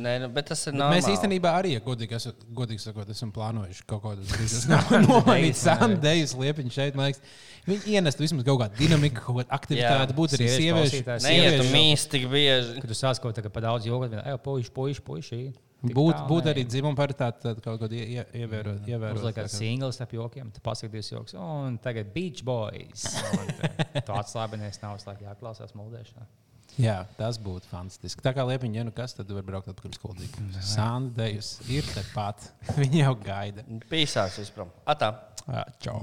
Nē, nu, bet tas ir normāli.
Mēs īstenībā arī, ja godīgi, esam, godīgi sakot, esam plānojuši kaut kādas lietas. Nomainīt Sandēļus Liepiņš šeit, man liekas. Viņi ienest vismaz kaut kādu dinamiku, kaut kādu aktivitāti,
Jā.
būtu arī
Sieviešu
sieviešu.
klausītājs.
neietu
sieviešu-
mīst tik bieži.
Kad tu sāc kaut kā pa daudz joku, tad jau puiši, puiši, puiši.
Būtu būt arī dzimuma paritāte, tad kaut kādā
Mm,
ievērot. ievērot
Mums
tā
liekas,
kā-
singls ap jokiem, tad pasakties joks. Un tagad beach boys. Un tā- Tu atslābinies, nav slēgts jāklausās mūžēšanā.
Jā, tas būtu fantastiski. Tā kā liepiņa, ja nu kas, tad var braukt atpakaļ uz Kultūru. Sandējus ir tepat. Viņa jau gaida.
Pīsās vispār. Atā.
Ā, Čau!